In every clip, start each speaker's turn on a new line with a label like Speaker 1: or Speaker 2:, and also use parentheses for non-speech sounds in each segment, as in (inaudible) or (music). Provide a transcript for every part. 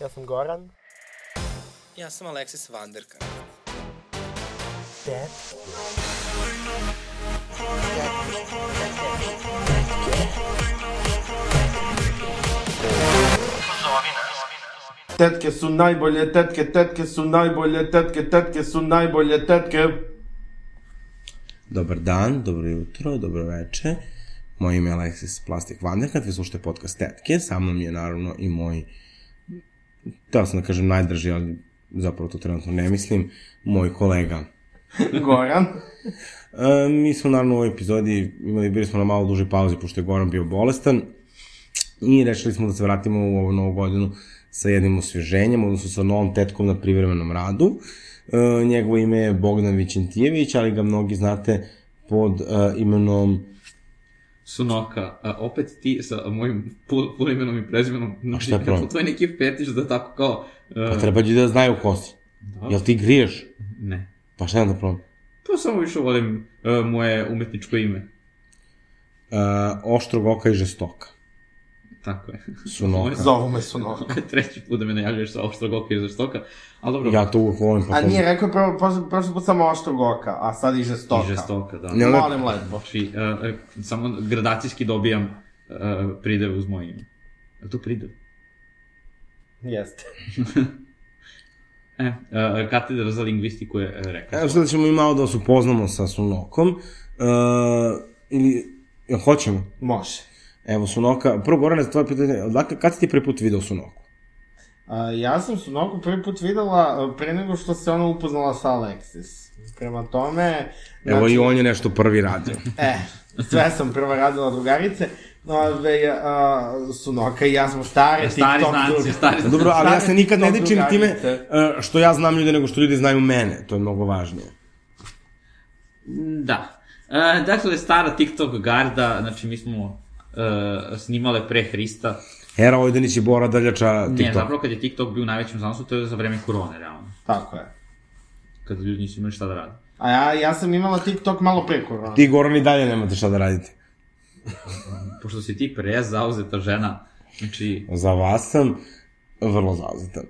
Speaker 1: Ja sam Goran.
Speaker 2: Ja sam Alexis Vanderka.
Speaker 1: Dead.
Speaker 3: Tetke su najbolje, tetke, tetke su najbolje, tetke, tetke su najbolje, tetke.
Speaker 4: Dobar dan, dobro jutro, dobro veče. Moje ime je Alexis Plastik Vanderkat, vi slušate podcast Tetke, sa mnom je naravno i moj, teo sam da kažem najdraži, ali zapravo to trenutno ne mislim, moj kolega.
Speaker 3: Goran.
Speaker 4: E, mi smo naravno u ovoj epizodi imali, bili smo na malo dužoj pauzi, pošto je Goran bio bolestan, i rešili smo da se vratimo u ovu novu godinu sa jednim osvježenjem, odnosno sa novom tetkom na privremenom radu. E, njegovo ime je Bogdan Vićentijević, ali ga mnogi znate pod e, imenom
Speaker 5: Sunoka, a opet ti sa mojim pu- punim imenom i prezimenom, znači,
Speaker 4: šta je problem?
Speaker 5: kako to je neki fetiš da tako kao...
Speaker 4: Pa
Speaker 5: Uh,
Speaker 4: treba ljudi da znaju ko si.
Speaker 5: da,
Speaker 4: Jel ti griješ?
Speaker 5: Ne.
Speaker 4: Pa šta je onda problem?
Speaker 5: To samo više volim uh, moje umetničko ime.
Speaker 4: Uh, oštrog oka i žestoka.
Speaker 5: Tako je.
Speaker 4: Su
Speaker 5: Ovo je
Speaker 4: noka.
Speaker 5: za-
Speaker 3: Zovu me su noga.
Speaker 5: (laughs) Treći put da me najavljaš sa oštrog oka i žestoka, ali dobro.
Speaker 4: Ja to uvek volim. Pa
Speaker 3: A
Speaker 4: to-
Speaker 3: nije, rekao je prvo, prošli, prošli put samo oštrog oka, a sad i žestoka.
Speaker 5: I žestoka, da.
Speaker 4: Ne,
Speaker 3: Molim lepo.
Speaker 5: Znači, uh, uh, samo gradacijski dobijam uh, pridev uz moje ime. Je li to pridev?
Speaker 3: Jeste.
Speaker 5: E, uh, katedra za lingvistiku je uh, rekla.
Speaker 4: Evo sad ćemo i malo da se upoznamo sa Sunokom. Uh, ili, jel hoćemo?
Speaker 3: Može. Evo.
Speaker 4: Evo Sunoka, prvo Gorane, tvoje pitanje, odakle, kad si ti prvi put video Sunoku?
Speaker 3: A, ja sam su nogu prvi put videla a, pre nego što se ona upoznala sa Alexis. Prema tome... znači,
Speaker 4: Evo i on je nešto prvi (laughs) radio.
Speaker 3: E, sve sam prvo radila drugarice. Ove, a, Sunoka i ja smo stare,
Speaker 5: E, Stari
Speaker 3: TikTok
Speaker 5: znanci,
Speaker 3: drugarice.
Speaker 5: stari znanci.
Speaker 4: Dobro, ali ja se nikad ne
Speaker 3: Stari
Speaker 4: dičim time
Speaker 3: drugarice.
Speaker 4: uh, što ja znam ljude nego što ljudi znaju mene, to je mnogo važnije.
Speaker 5: Da. E, dakle, stara TikTok garda, znači mi smo e, snimale pre Hrista.
Speaker 4: Hera Ojdenić i Bora Daljača
Speaker 5: Ne,
Speaker 4: TikTok.
Speaker 5: zapravo kad je TikTok bio u najvećem zanosu, to je za vreme korone, realno.
Speaker 3: Tako je.
Speaker 5: Kada ljudi nisu imali šta da rade.
Speaker 3: A ja, ja sam imala TikTok malo pre korona.
Speaker 4: Ti Goran i dalje nemate šta da radite.
Speaker 5: Pošto si ti pre zauzeta žena, znači,
Speaker 4: Za vas sam vrlo zauzetan.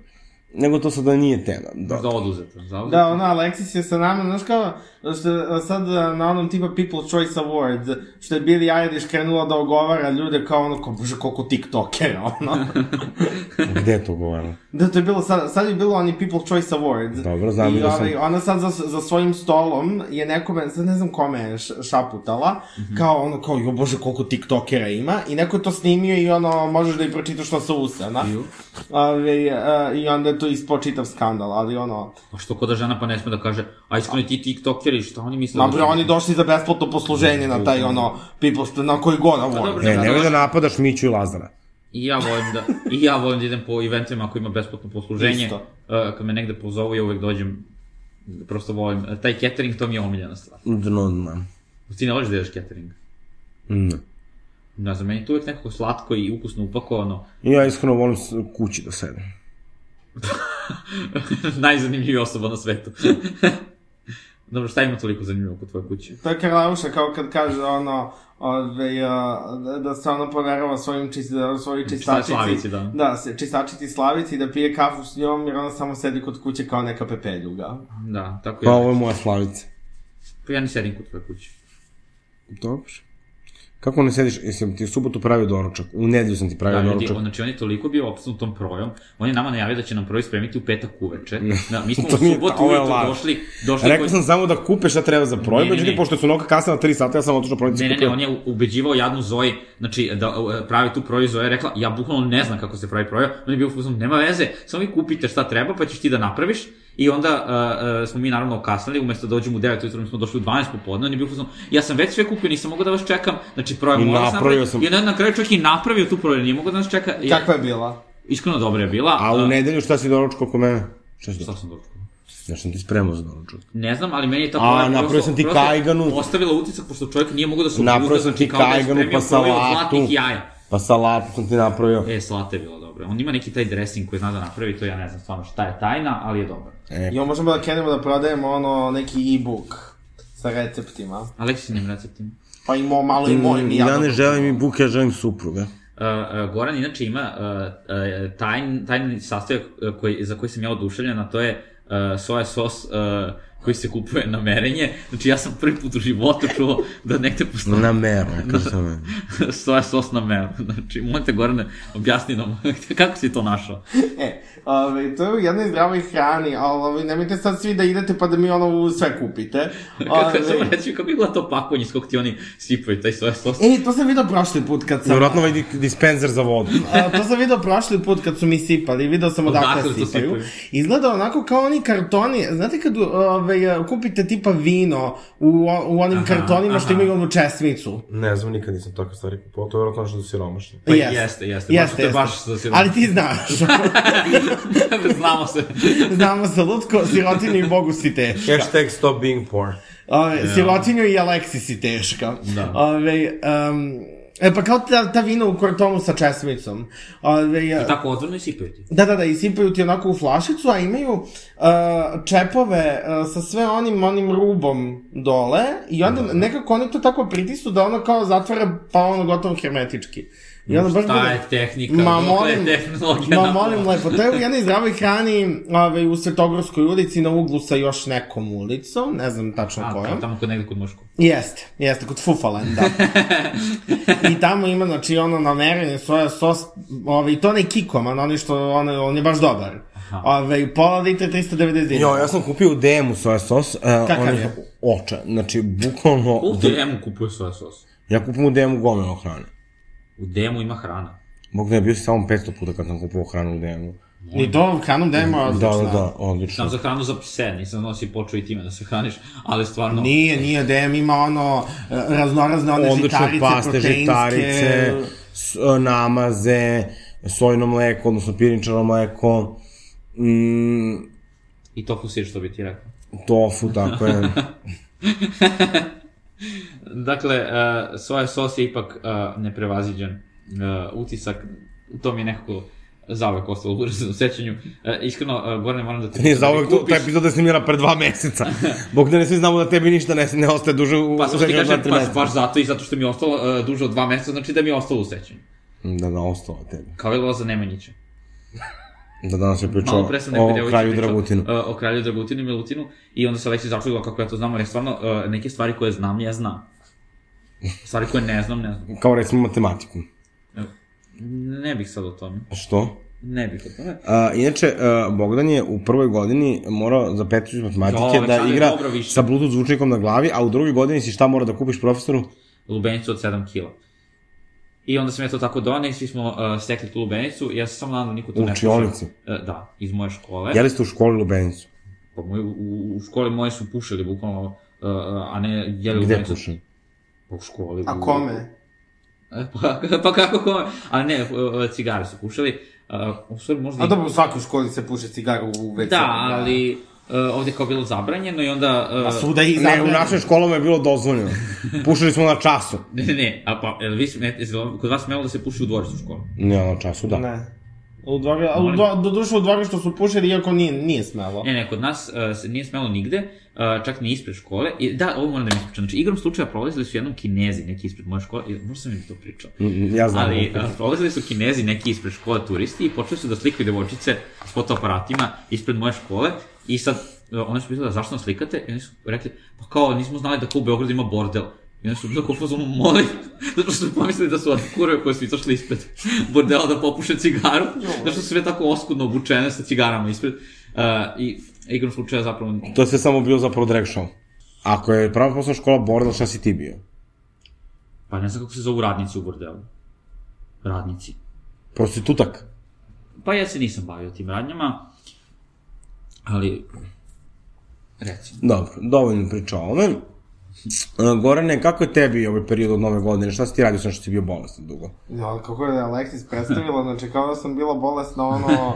Speaker 4: Nego to sada nije tema.
Speaker 5: da.
Speaker 4: Da.
Speaker 5: za oduzeta. Zauzeta.
Speaker 3: Da, ona Alexis je sa nama, znaš kao, što sad e, na onom tipa People's Choice Award, što je Billie Eilish krenula da ogovara ljude kao ono, kao, bože, koliko tiktokera, (laughs) ono.
Speaker 4: Gde je to govorilo?
Speaker 3: Da, to je bilo, sad, sad je bilo oni People's Choice Award.
Speaker 4: Dobro, znam
Speaker 3: I
Speaker 4: da sam-
Speaker 3: ovaj, ona sad za, za svojim stolom je nekome, sad ne znam kome je š- šaputala,
Speaker 4: Mhm.
Speaker 3: kao ono, kao, jo bože, koliko tiktokera ima, i neko je to snimio i ono, možeš da i pročitaš što se usana.
Speaker 5: Ju.
Speaker 3: Ove, a, I onda je to ispočitav skandal, ali ono,
Speaker 5: Pa što ko da žena pa ne sme da kaže, a iskreno ti tiktokeri, šta oni misle?
Speaker 3: Ma
Speaker 5: da
Speaker 3: bre,
Speaker 5: su?"
Speaker 3: oni došli za besplatno posluženje na taj, ono, People's, na koji god award.
Speaker 5: dobro.
Speaker 4: Ne, nemoj da napadaš Miću i Lazara.
Speaker 5: I ja volim da, i ja volim da idem po eventima ako ima besplatno posluženje.
Speaker 3: Isto.
Speaker 5: Isto. kad me negde pozovu, ja uvek dođem, prosto volim. E, taj catering, to mi je omiljena stvar.
Speaker 4: Dno dna.
Speaker 5: Ti ne voliš da jedeš catering?
Speaker 4: Ne.
Speaker 5: Ne znam, meni je to uvek nekako slatko i ukusno upakovano. (laughs)
Speaker 4: Ja iskreno volim s- kući da sedem.
Speaker 5: Najzanimljivija osoba na svetu. (laughs) Dobro, šta ima toliko zanimljivo kod tvoje kuće?
Speaker 3: To je Karlauša, kao kad kaže, ono, ove, a, da- da se ono poverava svojim čist, da, svojoj čistačici.
Speaker 5: slavici, da.
Speaker 3: Da, se, čistačici slavici i da pije kafu s njom, jer ona samo sedi kod kuće kao neka pepeljuga.
Speaker 5: Da, tako
Speaker 4: Pa
Speaker 5: ja.
Speaker 4: ovo je moja slavica.
Speaker 5: Pa ja ne sedim kod tvoje kuće.
Speaker 4: Dobro. Kako ne sediš, jesam ti u subotu pravio doručak, u nedelju sam ti pravio
Speaker 5: Da,
Speaker 4: da,
Speaker 5: ljudi,
Speaker 4: doručak.
Speaker 5: on, znači on je toliko bio opsnut tom projom, on je nama najavio da će nam proj spremiti u petak
Speaker 4: (laughs)
Speaker 5: uveče. Da, mi smo
Speaker 4: To
Speaker 5: u
Speaker 4: nije-
Speaker 5: subotu
Speaker 4: ovo je
Speaker 5: ujutro
Speaker 4: laž.
Speaker 5: došli, došli
Speaker 4: Rekao sam samo da kupe šta treba za
Speaker 5: Ne,
Speaker 4: projekt,
Speaker 5: ne,
Speaker 4: međutim,
Speaker 5: ne.
Speaker 4: pošto su noga kasna na 3 sata, ja sam otišao projekt
Speaker 5: Ne, ne, ne, on je ubeđivao jadnu Zoji, znači, da e, pravi tu proju Zoja, je rekla, ja bukvalno ne znam kako se pravi proja, on je bio fuzom, nema veze, samo vi kupite šta treba, pa ćeš ti da napraviš, i onda uh, uh, smo mi naravno okasnili, umesto da dođemo u 9 ujutro, mi smo došli u 12 popodne, on je bio fuzom, ja sam već sve kupio, nisam mogao da vas čekam, znači proja
Speaker 4: I
Speaker 5: mora
Speaker 4: napravio
Speaker 5: sam,
Speaker 4: sam.
Speaker 5: i onda je na kraju čovjek i napravio tu proju, nije mogao da nas čeka, ja,
Speaker 3: Kakva je bila?
Speaker 5: iskreno dobra je bila,
Speaker 4: A u
Speaker 5: e,
Speaker 4: nedelju šta si doručkao kod mene? Šta si
Speaker 5: šta
Speaker 4: doručkao?
Speaker 5: sam došao?
Speaker 4: Ja sam ti spremao za doručak.
Speaker 5: Ne znam, ali meni je ta
Speaker 4: A,
Speaker 5: proja
Speaker 4: napravio
Speaker 5: prosto-
Speaker 4: sam ti
Speaker 5: prosto
Speaker 4: kajganu.
Speaker 5: Ostavila utisak, pošto čovjek nije mogao da se
Speaker 4: Napravio
Speaker 5: obuzda,
Speaker 4: sam
Speaker 5: znači,
Speaker 4: ti
Speaker 5: kao da je
Speaker 4: kajganu,
Speaker 5: spremio
Speaker 4: pa
Speaker 5: proju od
Speaker 4: salatu.
Speaker 5: zlatnih jaja.
Speaker 4: Pa salatu sam ti napravio.
Speaker 5: E, slata je bila dobra. On ima neki taj dressing koji zna da napravi, to ja ne znam stvarno šta je tajna, ali je dobar.
Speaker 4: E.
Speaker 3: Jo, možemo da krenemo da prodajemo, ono, neki e-book sa receptima.
Speaker 5: Aleksinim receptima.
Speaker 3: Pa i mo, malo i moj, ni
Speaker 4: Mm, ja ne
Speaker 3: dobro.
Speaker 4: želim i buke, ja želim supruga.
Speaker 5: uh, Goran inače ima uh, uh, tajn, tajni sastojak uh, koji, za koji sam ja oduševljen, a to je uh, soja sos uh, koji se kupuje na merenje. Znači ja sam prvi put u životu čuo da negde postoji (laughs)
Speaker 4: Na meru, kako sam je.
Speaker 5: soja sos na meru. Znači, molite Gorane, objasni nam (laughs) kako si to našao.
Speaker 3: E, ove, to je u jednoj zdravoj hrani, ali ove, nemojte sad svi da idete pa da mi ono u sve kupite.
Speaker 5: (laughs) Kako,
Speaker 3: Ove,
Speaker 5: sam reći, kako je bilo to pakovanje s kog ti oni sipaju taj soja (laughs) sos?
Speaker 3: E, to sam vidio prošli put kad sam...
Speaker 4: Vjerojatno ovaj di- dispenzer za vodu.
Speaker 3: A, to sam video prošli put kad su mi sipali, video sam odakle
Speaker 5: Odakle su
Speaker 3: sipaju.
Speaker 5: sipali.
Speaker 3: Izgleda onako kao oni kartoni, znate kad ove, kupite tipa vino u, o- u onim kartonima što imaju onu česmicu.
Speaker 4: Ne znam, nikad nisam takve stvari kupovao, to je vjerojatno nešto da siromašno.
Speaker 5: Pa jeste, jeste, baš- to je baš za siromašno.
Speaker 3: Ali ti znaš, (laughs)
Speaker 5: Znamo se.
Speaker 3: znamo za lutko, sirotinju i bogu si teška.
Speaker 4: Hashtag stop being poor.
Speaker 3: Ove, Sirotinju i Aleksi si teška.
Speaker 5: Da.
Speaker 3: Ove, um, e pa kao ta, ta vina u kartonu sa česmicom. Ove,
Speaker 5: Tako odvrno i sipaju ti.
Speaker 3: Da, da, da, isipaju ti onako u flašicu, a imaju uh, čepove uh, sa sve onim, onim rubom dole i onda
Speaker 5: Da.
Speaker 3: nekako oni to tako pritisnu da ono kao zatvara, pa ono gotovo hermetički. I onda baš
Speaker 5: Šta
Speaker 3: bude-
Speaker 5: je tehnika?
Speaker 3: Ma
Speaker 5: dokle
Speaker 3: molim,
Speaker 5: je tehnologija.
Speaker 3: ma molim lepo, to je u jednoj zdravoj hrani ove, u Svetogorskoj ulici na uglu sa još nekom ulicom, ne znam tačno
Speaker 5: A,
Speaker 3: kojom.
Speaker 5: kao Pa, tamo kod negde kod mušku.
Speaker 3: Jeste, jeste, kod Fufalenda. I tamo ima, znači, ono, namereni soja sos, ovaj, i to onaj kikoman, oni što, on, on je baš dobar. Ove, pola litra 390
Speaker 4: Jo,
Speaker 3: dinara.
Speaker 4: ja sam kupio u DM-u soja sos. Uh,
Speaker 3: Kakav
Speaker 4: onih
Speaker 3: je?
Speaker 4: Oča, znači, bukvalno...
Speaker 5: Pa, U DM-u kupuje soja sos.
Speaker 4: Ja kupim u DM-u gomeno hrane.
Speaker 5: U DM-u ima hrana.
Speaker 4: Bog da je bio sam samo 500 puta kad sam kupovao hranu u DM-u.
Speaker 3: I to hranom dajemo
Speaker 4: Da,
Speaker 3: odlično.
Speaker 4: da, da,
Speaker 5: Znam
Speaker 4: odlično.
Speaker 5: za hranu za pse, nisam znao da si počeo i time da se hraniš, ali stvarno...
Speaker 3: Nije, nije, DM ima ono, e, raznorazne one
Speaker 4: Odlične
Speaker 3: žitarice,
Speaker 4: paste,
Speaker 3: proteinske.
Speaker 4: žitarice, s- e, namaze, sojno mleko, odnosno pirinčano mleko, mm,
Speaker 5: I tofu sir, što bi ti rekao.
Speaker 4: tofu, tako
Speaker 5: (laughs)
Speaker 4: je.
Speaker 5: Dakle, uh, soja sos je ipak uh, neprevaziđen uh, utisak. To mi je nekako zauvek ostalo u sećanju. Uh, iskreno, uh, Gorane, moram da te...
Speaker 4: (laughs) Nije za uvek, to,
Speaker 5: kupiš-
Speaker 4: ta epizoda je snimljena pre dva meseca. Bog da ne svi znamo da tebi ništa ne, ne ostaje duže u,
Speaker 5: Pa
Speaker 4: u
Speaker 5: samo ti
Speaker 4: zemlji od dva,
Speaker 5: kažem,
Speaker 4: tri
Speaker 5: pa,
Speaker 4: meseca.
Speaker 5: baš zato i zato što mi je ostalo uh, duže od dva meseca, znači da mi je ostalo u sećanju.
Speaker 4: Da, da, ostalo je tebi.
Speaker 5: Kao i Loza Nemanjića.
Speaker 4: Da danas je pričao
Speaker 5: Malo pre sam nekoj
Speaker 4: o
Speaker 5: devojci
Speaker 4: kralju
Speaker 5: pričao,
Speaker 4: Dragutinu.
Speaker 5: e, o kralju Dragutinu i Milutinu i onda se Aleksi začudila kako ja to znam, jer stvarno e, neke stvari koje znam, ja znam. Stvari koje ne znam, ne znam.
Speaker 4: Kao recimo matematiku.
Speaker 5: Ne bih sad o tome.
Speaker 4: Što?
Speaker 5: Ne bih o tome.
Speaker 4: A, inače, a, Bogdan je u prvoj godini morao za peticu iz matematike
Speaker 5: Jo,
Speaker 4: da
Speaker 5: Aleksandar,
Speaker 4: igra
Speaker 5: dobro više.
Speaker 4: sa bluetooth zvučnikom na glavi, a u drugoj godini si šta mora da kupiš profesoru?
Speaker 5: Lubenicu od 7 kila. I onda sam ja to tako doneo i svi smo uh, stekli tu lubenicu i ja sam samo nadam da niko to
Speaker 4: U
Speaker 5: ne
Speaker 4: učionici?
Speaker 5: Uh, da, iz moje škole.
Speaker 4: Jeli ste u školi Lubenicu?
Speaker 5: Pa moji, u, u školi moje su pušili bukvalno, uh, a ne jeli
Speaker 4: Gde
Speaker 5: lubenicu.
Speaker 4: pušen?
Speaker 5: Pa U školi.
Speaker 3: A
Speaker 5: u-
Speaker 3: kome?
Speaker 5: Pa, (laughs) pa kako kome? A ne, e, cigare su pušili. Uh, u stvari možda...
Speaker 3: A
Speaker 5: i-
Speaker 3: dobro, u svakoj školi se puše cigaru u WC.
Speaker 5: Da, ali uh, ovde je kao bilo zabranjeno i onda... Uh,
Speaker 3: A svuda i
Speaker 4: Ne, u našim školama je bilo dozvoljeno. Pušili smo na času.
Speaker 5: Ne, ne, ne, a pa, jel vi sme, jel kod vas smelo da se puši u dvorištu škole?
Speaker 4: Ne, na času, da.
Speaker 3: Ne. U dvori, a u dvo, doduše u dvori što su pušili, iako nije, nije smelo.
Speaker 5: Ne, ne, kod nas uh, se nije smelo nigde, uh, čak ni ispred škole. I, da, ovo moram da mi ispričam. Znači, igrom slučaja prolazili su jednom kinezi, neki ispred moje škole, i- možda sam im to pričao.
Speaker 4: Mm, Ja znam.
Speaker 5: Ali uh, prolazili su kinezi neki ispred škole turisti i počeli su da slikaju devojčice s fotoaparatima ispred moje škole i sad uh, oni su pitali zašto nas slikate i oni su rekli pa kao nismo znali da kao u Beogradu ima bordel. I oni su bilo kao fazonu molim, (laughs) zato što su pomislili da su od kurve koje su izašli ispred (laughs) bordela da popuše cigaru, (laughs) zato što su sve tako oskudno obučene sa cigarama ispred. Uh, I igrom slučaja zapravo...
Speaker 4: To je sve samo bio zapravo drag show. Ako je prava posla škola bordel, šta si ti bio?
Speaker 5: Pa ne znam kako se zovu radnici u bordelu. Radnici.
Speaker 4: Prostitutak.
Speaker 5: Pa ja se nisam bavio tim radnjama, ali recimo.
Speaker 4: Dobro, dovoljno priča o ovome. E, Gorane, kako je tebi ovaj period od nove godine? Šta si ti radio sam što si bio bolestan dugo?
Speaker 3: Ja, Da, ali kako je Aleksis predstavila, znači kao da sam bila bolesna ono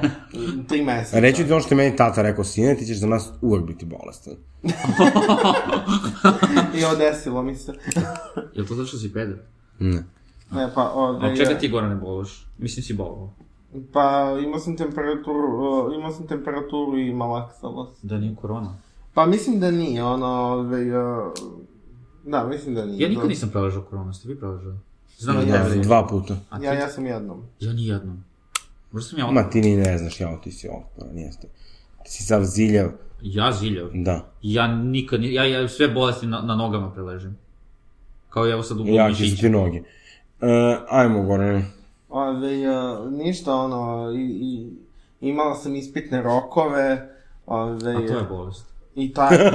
Speaker 3: tri meseca.
Speaker 4: Reći ti ono što je meni tata rekao, sine, ti ćeš za nas uvek biti bolestan.
Speaker 3: I odesilo mi se.
Speaker 5: Je li to zato što si peder?
Speaker 4: Ne.
Speaker 3: Ne, pa, ove,
Speaker 5: A čega ti Gorane bološ? Mislim si bolovo.
Speaker 3: pa imao sam temperaturu, o, imao sam temperaturu i malaksalo se.
Speaker 5: Da nije korona.
Speaker 3: Pa mislim da nije, ono, ove, o, da, mislim da nije.
Speaker 5: Da. Ja nikad nisam preležao koronu, ste vi preležali? Znam da
Speaker 4: Da,
Speaker 5: je da
Speaker 4: dva puta.
Speaker 5: A ti?
Speaker 3: Ja, ja sam jednom.
Speaker 5: Ja nijednom. Možda sam ja odmah.
Speaker 4: Ma ti ni ne znaš, jao, ti si otporan, jeste. Ti si sav ziljav,
Speaker 5: Ja ziljav.
Speaker 4: da.
Speaker 5: Ja nikad, ni- ja, ja sve bolesti na, na nogama preležem. Kao i evo sad u bolu
Speaker 4: Jaki su
Speaker 5: mišića.
Speaker 4: ti noge. E, ajmo, Gorane.
Speaker 3: Ove, a, Ovaj, eh, ništa, ono, i, i, imala sam ispitne rokove, ove,
Speaker 5: A to je bolest.
Speaker 3: i
Speaker 5: (laughs)
Speaker 3: ta je...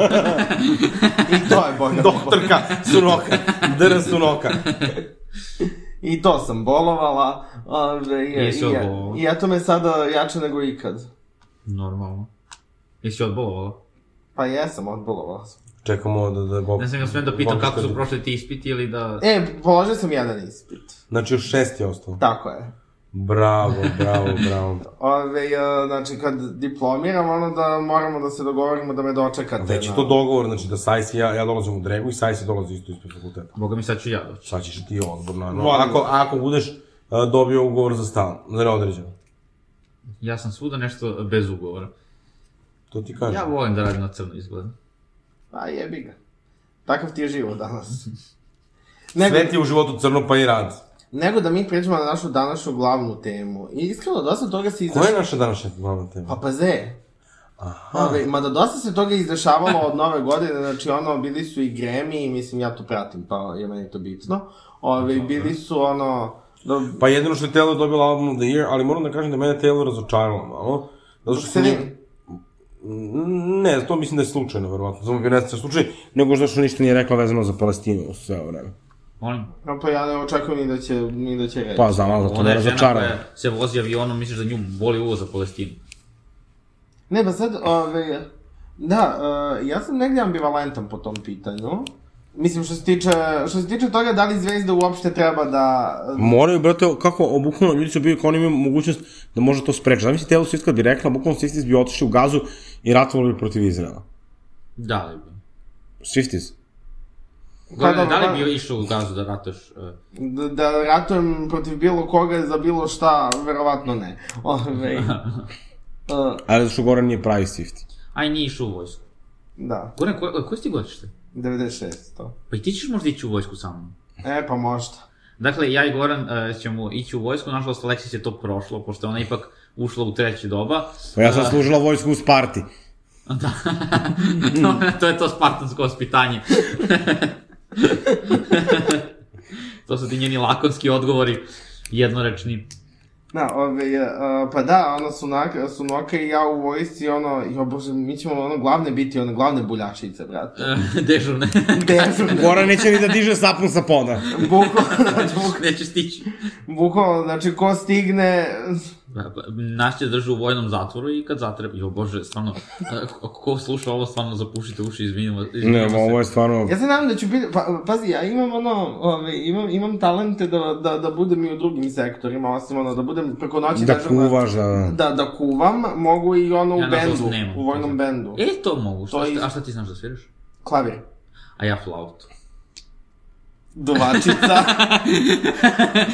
Speaker 3: I to je bolja Doktorka
Speaker 4: (laughs)
Speaker 3: Sunoka, Dr. Sunoka. I to sam bolovala, ove, i,
Speaker 5: Nisi
Speaker 3: i,
Speaker 5: odbolovala.
Speaker 3: i eto me sada jače nego ikad.
Speaker 5: Normalno. Jesi odbolovala?
Speaker 3: Pa jesam, odbolovala sam.
Speaker 4: Čekamo da, da go...
Speaker 5: Ne znam ja smem da pitam kako su prošli ti ispiti ili da...
Speaker 3: E, položio sam jedan ispit.
Speaker 4: Znači, još šest je ostalo.
Speaker 3: Tako je.
Speaker 4: Bravo, bravo, bravo.
Speaker 3: Ove, a, znači, kad diplomiram, ono da moramo da se dogovorimo da me dočekate.
Speaker 4: Već je
Speaker 3: na-
Speaker 4: to dogovor, znači da Sajs i ja, ja dolazim u Dregu i Sajs je dolazi isto ispred fakulteta.
Speaker 5: Boga mi sad ću ja doći.
Speaker 4: Sad ćeš ti odbor na... No,
Speaker 3: Volim.
Speaker 4: ako, ako budeš e, dobio ugovor za stalno, za neodređeno.
Speaker 5: Ja sam svuda nešto bez ugovora.
Speaker 4: To ti kažem.
Speaker 5: Ja volim da radim na crno izgleda.
Speaker 3: A Pa, jebi ga. Takav ti je život danas. Nego,
Speaker 4: (laughs) Sve ti je u životu crno pa i rad.
Speaker 3: nego da mi pređemo na našu današnju glavnu temu. I iskreno, dosta toga se
Speaker 4: Koja je
Speaker 3: izdešavalo.
Speaker 4: naša današnja glavna tema?
Speaker 3: Pa paze.
Speaker 4: Aha.
Speaker 3: Ove, mada dosta se toga izdešavalo od nove godine, znači ono, bili su i Grammy, mislim, ja to pratim, pa je meni to bitno. Ove, bili su ono... Do...
Speaker 4: Pa jedino što je Taylor dobila album of the year, ali moram da kažem da je mene Taylor razočarala malo. Zato što
Speaker 3: Se
Speaker 4: nije-
Speaker 3: vidi.
Speaker 4: Mm, Ne, to mislim da je slučajno, verovatno. Samo bio nestačan slučaj, nego zato što ništa nije rekla vezano za Palestinu sve ovo vreme.
Speaker 5: Molim.
Speaker 3: No, pa ja ne očekujem ni da će, ni da će reći.
Speaker 4: Pa znam, ali zato
Speaker 5: Ona
Speaker 4: me
Speaker 5: je žena
Speaker 4: razočarala.
Speaker 5: koja se vozi avionom, misliš da nju boli uvo za Palestinu.
Speaker 3: Ne, pa sad, ove, da, e, ja sam negde ambivalentan po tom pitanju. Mislim, što se tiče, što se tiče toga da li zvezda uopšte treba da...
Speaker 4: Moraju, brate, kako, obukvalno, ljudi su bili kao oni imaju mogućnost da može to spreče. Zamisli, Taylor Swift kad bi rekla, bukvalno Swifties bi otišli u gazu i ratovali bi protiv Izraela.
Speaker 5: Da li bi?
Speaker 4: Swifties.
Speaker 5: Da, da,
Speaker 3: dobro,
Speaker 5: li bi išao u gazu da rataš? e,
Speaker 3: Da, da ratujem protiv bilo koga za bilo šta, verovatno ne. Ove,
Speaker 4: (laughs)
Speaker 3: e,
Speaker 4: Ali zato što Goran nije pravi Swiftie.
Speaker 5: Aj, nije išao u vojsku.
Speaker 3: da,
Speaker 5: Goran, koje ko si ti godište?
Speaker 3: 96 to.
Speaker 5: Pa i ti ćeš možda ići u vojsku sa mnom.
Speaker 3: E, pa možda.
Speaker 5: Dakle, ja i Goran e, ćemo ići u vojsku, nažalost Aleksis je to prošlo, pošto je ona ipak ušla u treće doba.
Speaker 4: Pa ja sam
Speaker 5: E,
Speaker 4: služila vojsku u Sparti.
Speaker 5: Da. (laughs) to je to spartansko ospitanje. (laughs) to su ti njeni lakonski odgovori, jednorečni.
Speaker 3: Da, ove, e, a, pa da, ono su, na, su Noka i ja u vojsci, ono, jo bože, mi ćemo ono glavne biti, one glavne buljašice, brate.
Speaker 5: e, Dežurne. (laughs)
Speaker 3: (laughs) Dežurne,
Speaker 4: Goran neće ni da diže sapun sa poda.
Speaker 3: bukvalno,
Speaker 5: Neće stići.
Speaker 3: bukvalno, znači, ko stigne,
Speaker 5: Nas će drži u vojnom zatvoru i kad zatreba... Jo, bože, stvarno, e, ko- ko sluša ovo, stvarno zapušite uši, izvinimo, izvinimo
Speaker 4: Ne,
Speaker 5: se.
Speaker 4: ovo je stvarno...
Speaker 3: Ja se nadam da ću biti, pa, pazi, ja imam ono, ove, imam, imam talente da, da, da budem i u drugim sektorima, osim ono, da budem preko noći
Speaker 4: Da
Speaker 3: dežurna-
Speaker 4: kuvaš, da, da.
Speaker 3: da, da kuvam, mogu i ono u
Speaker 5: Ja, nažalost,
Speaker 3: bendu,
Speaker 5: nemam.
Speaker 3: u vojnom bendu,
Speaker 5: E, to mogu. Šta,
Speaker 3: To je
Speaker 5: šta,
Speaker 3: isto.
Speaker 5: a šta ti znaš da sviraš?
Speaker 3: klavir,
Speaker 5: A ja flautu.
Speaker 3: duvačica,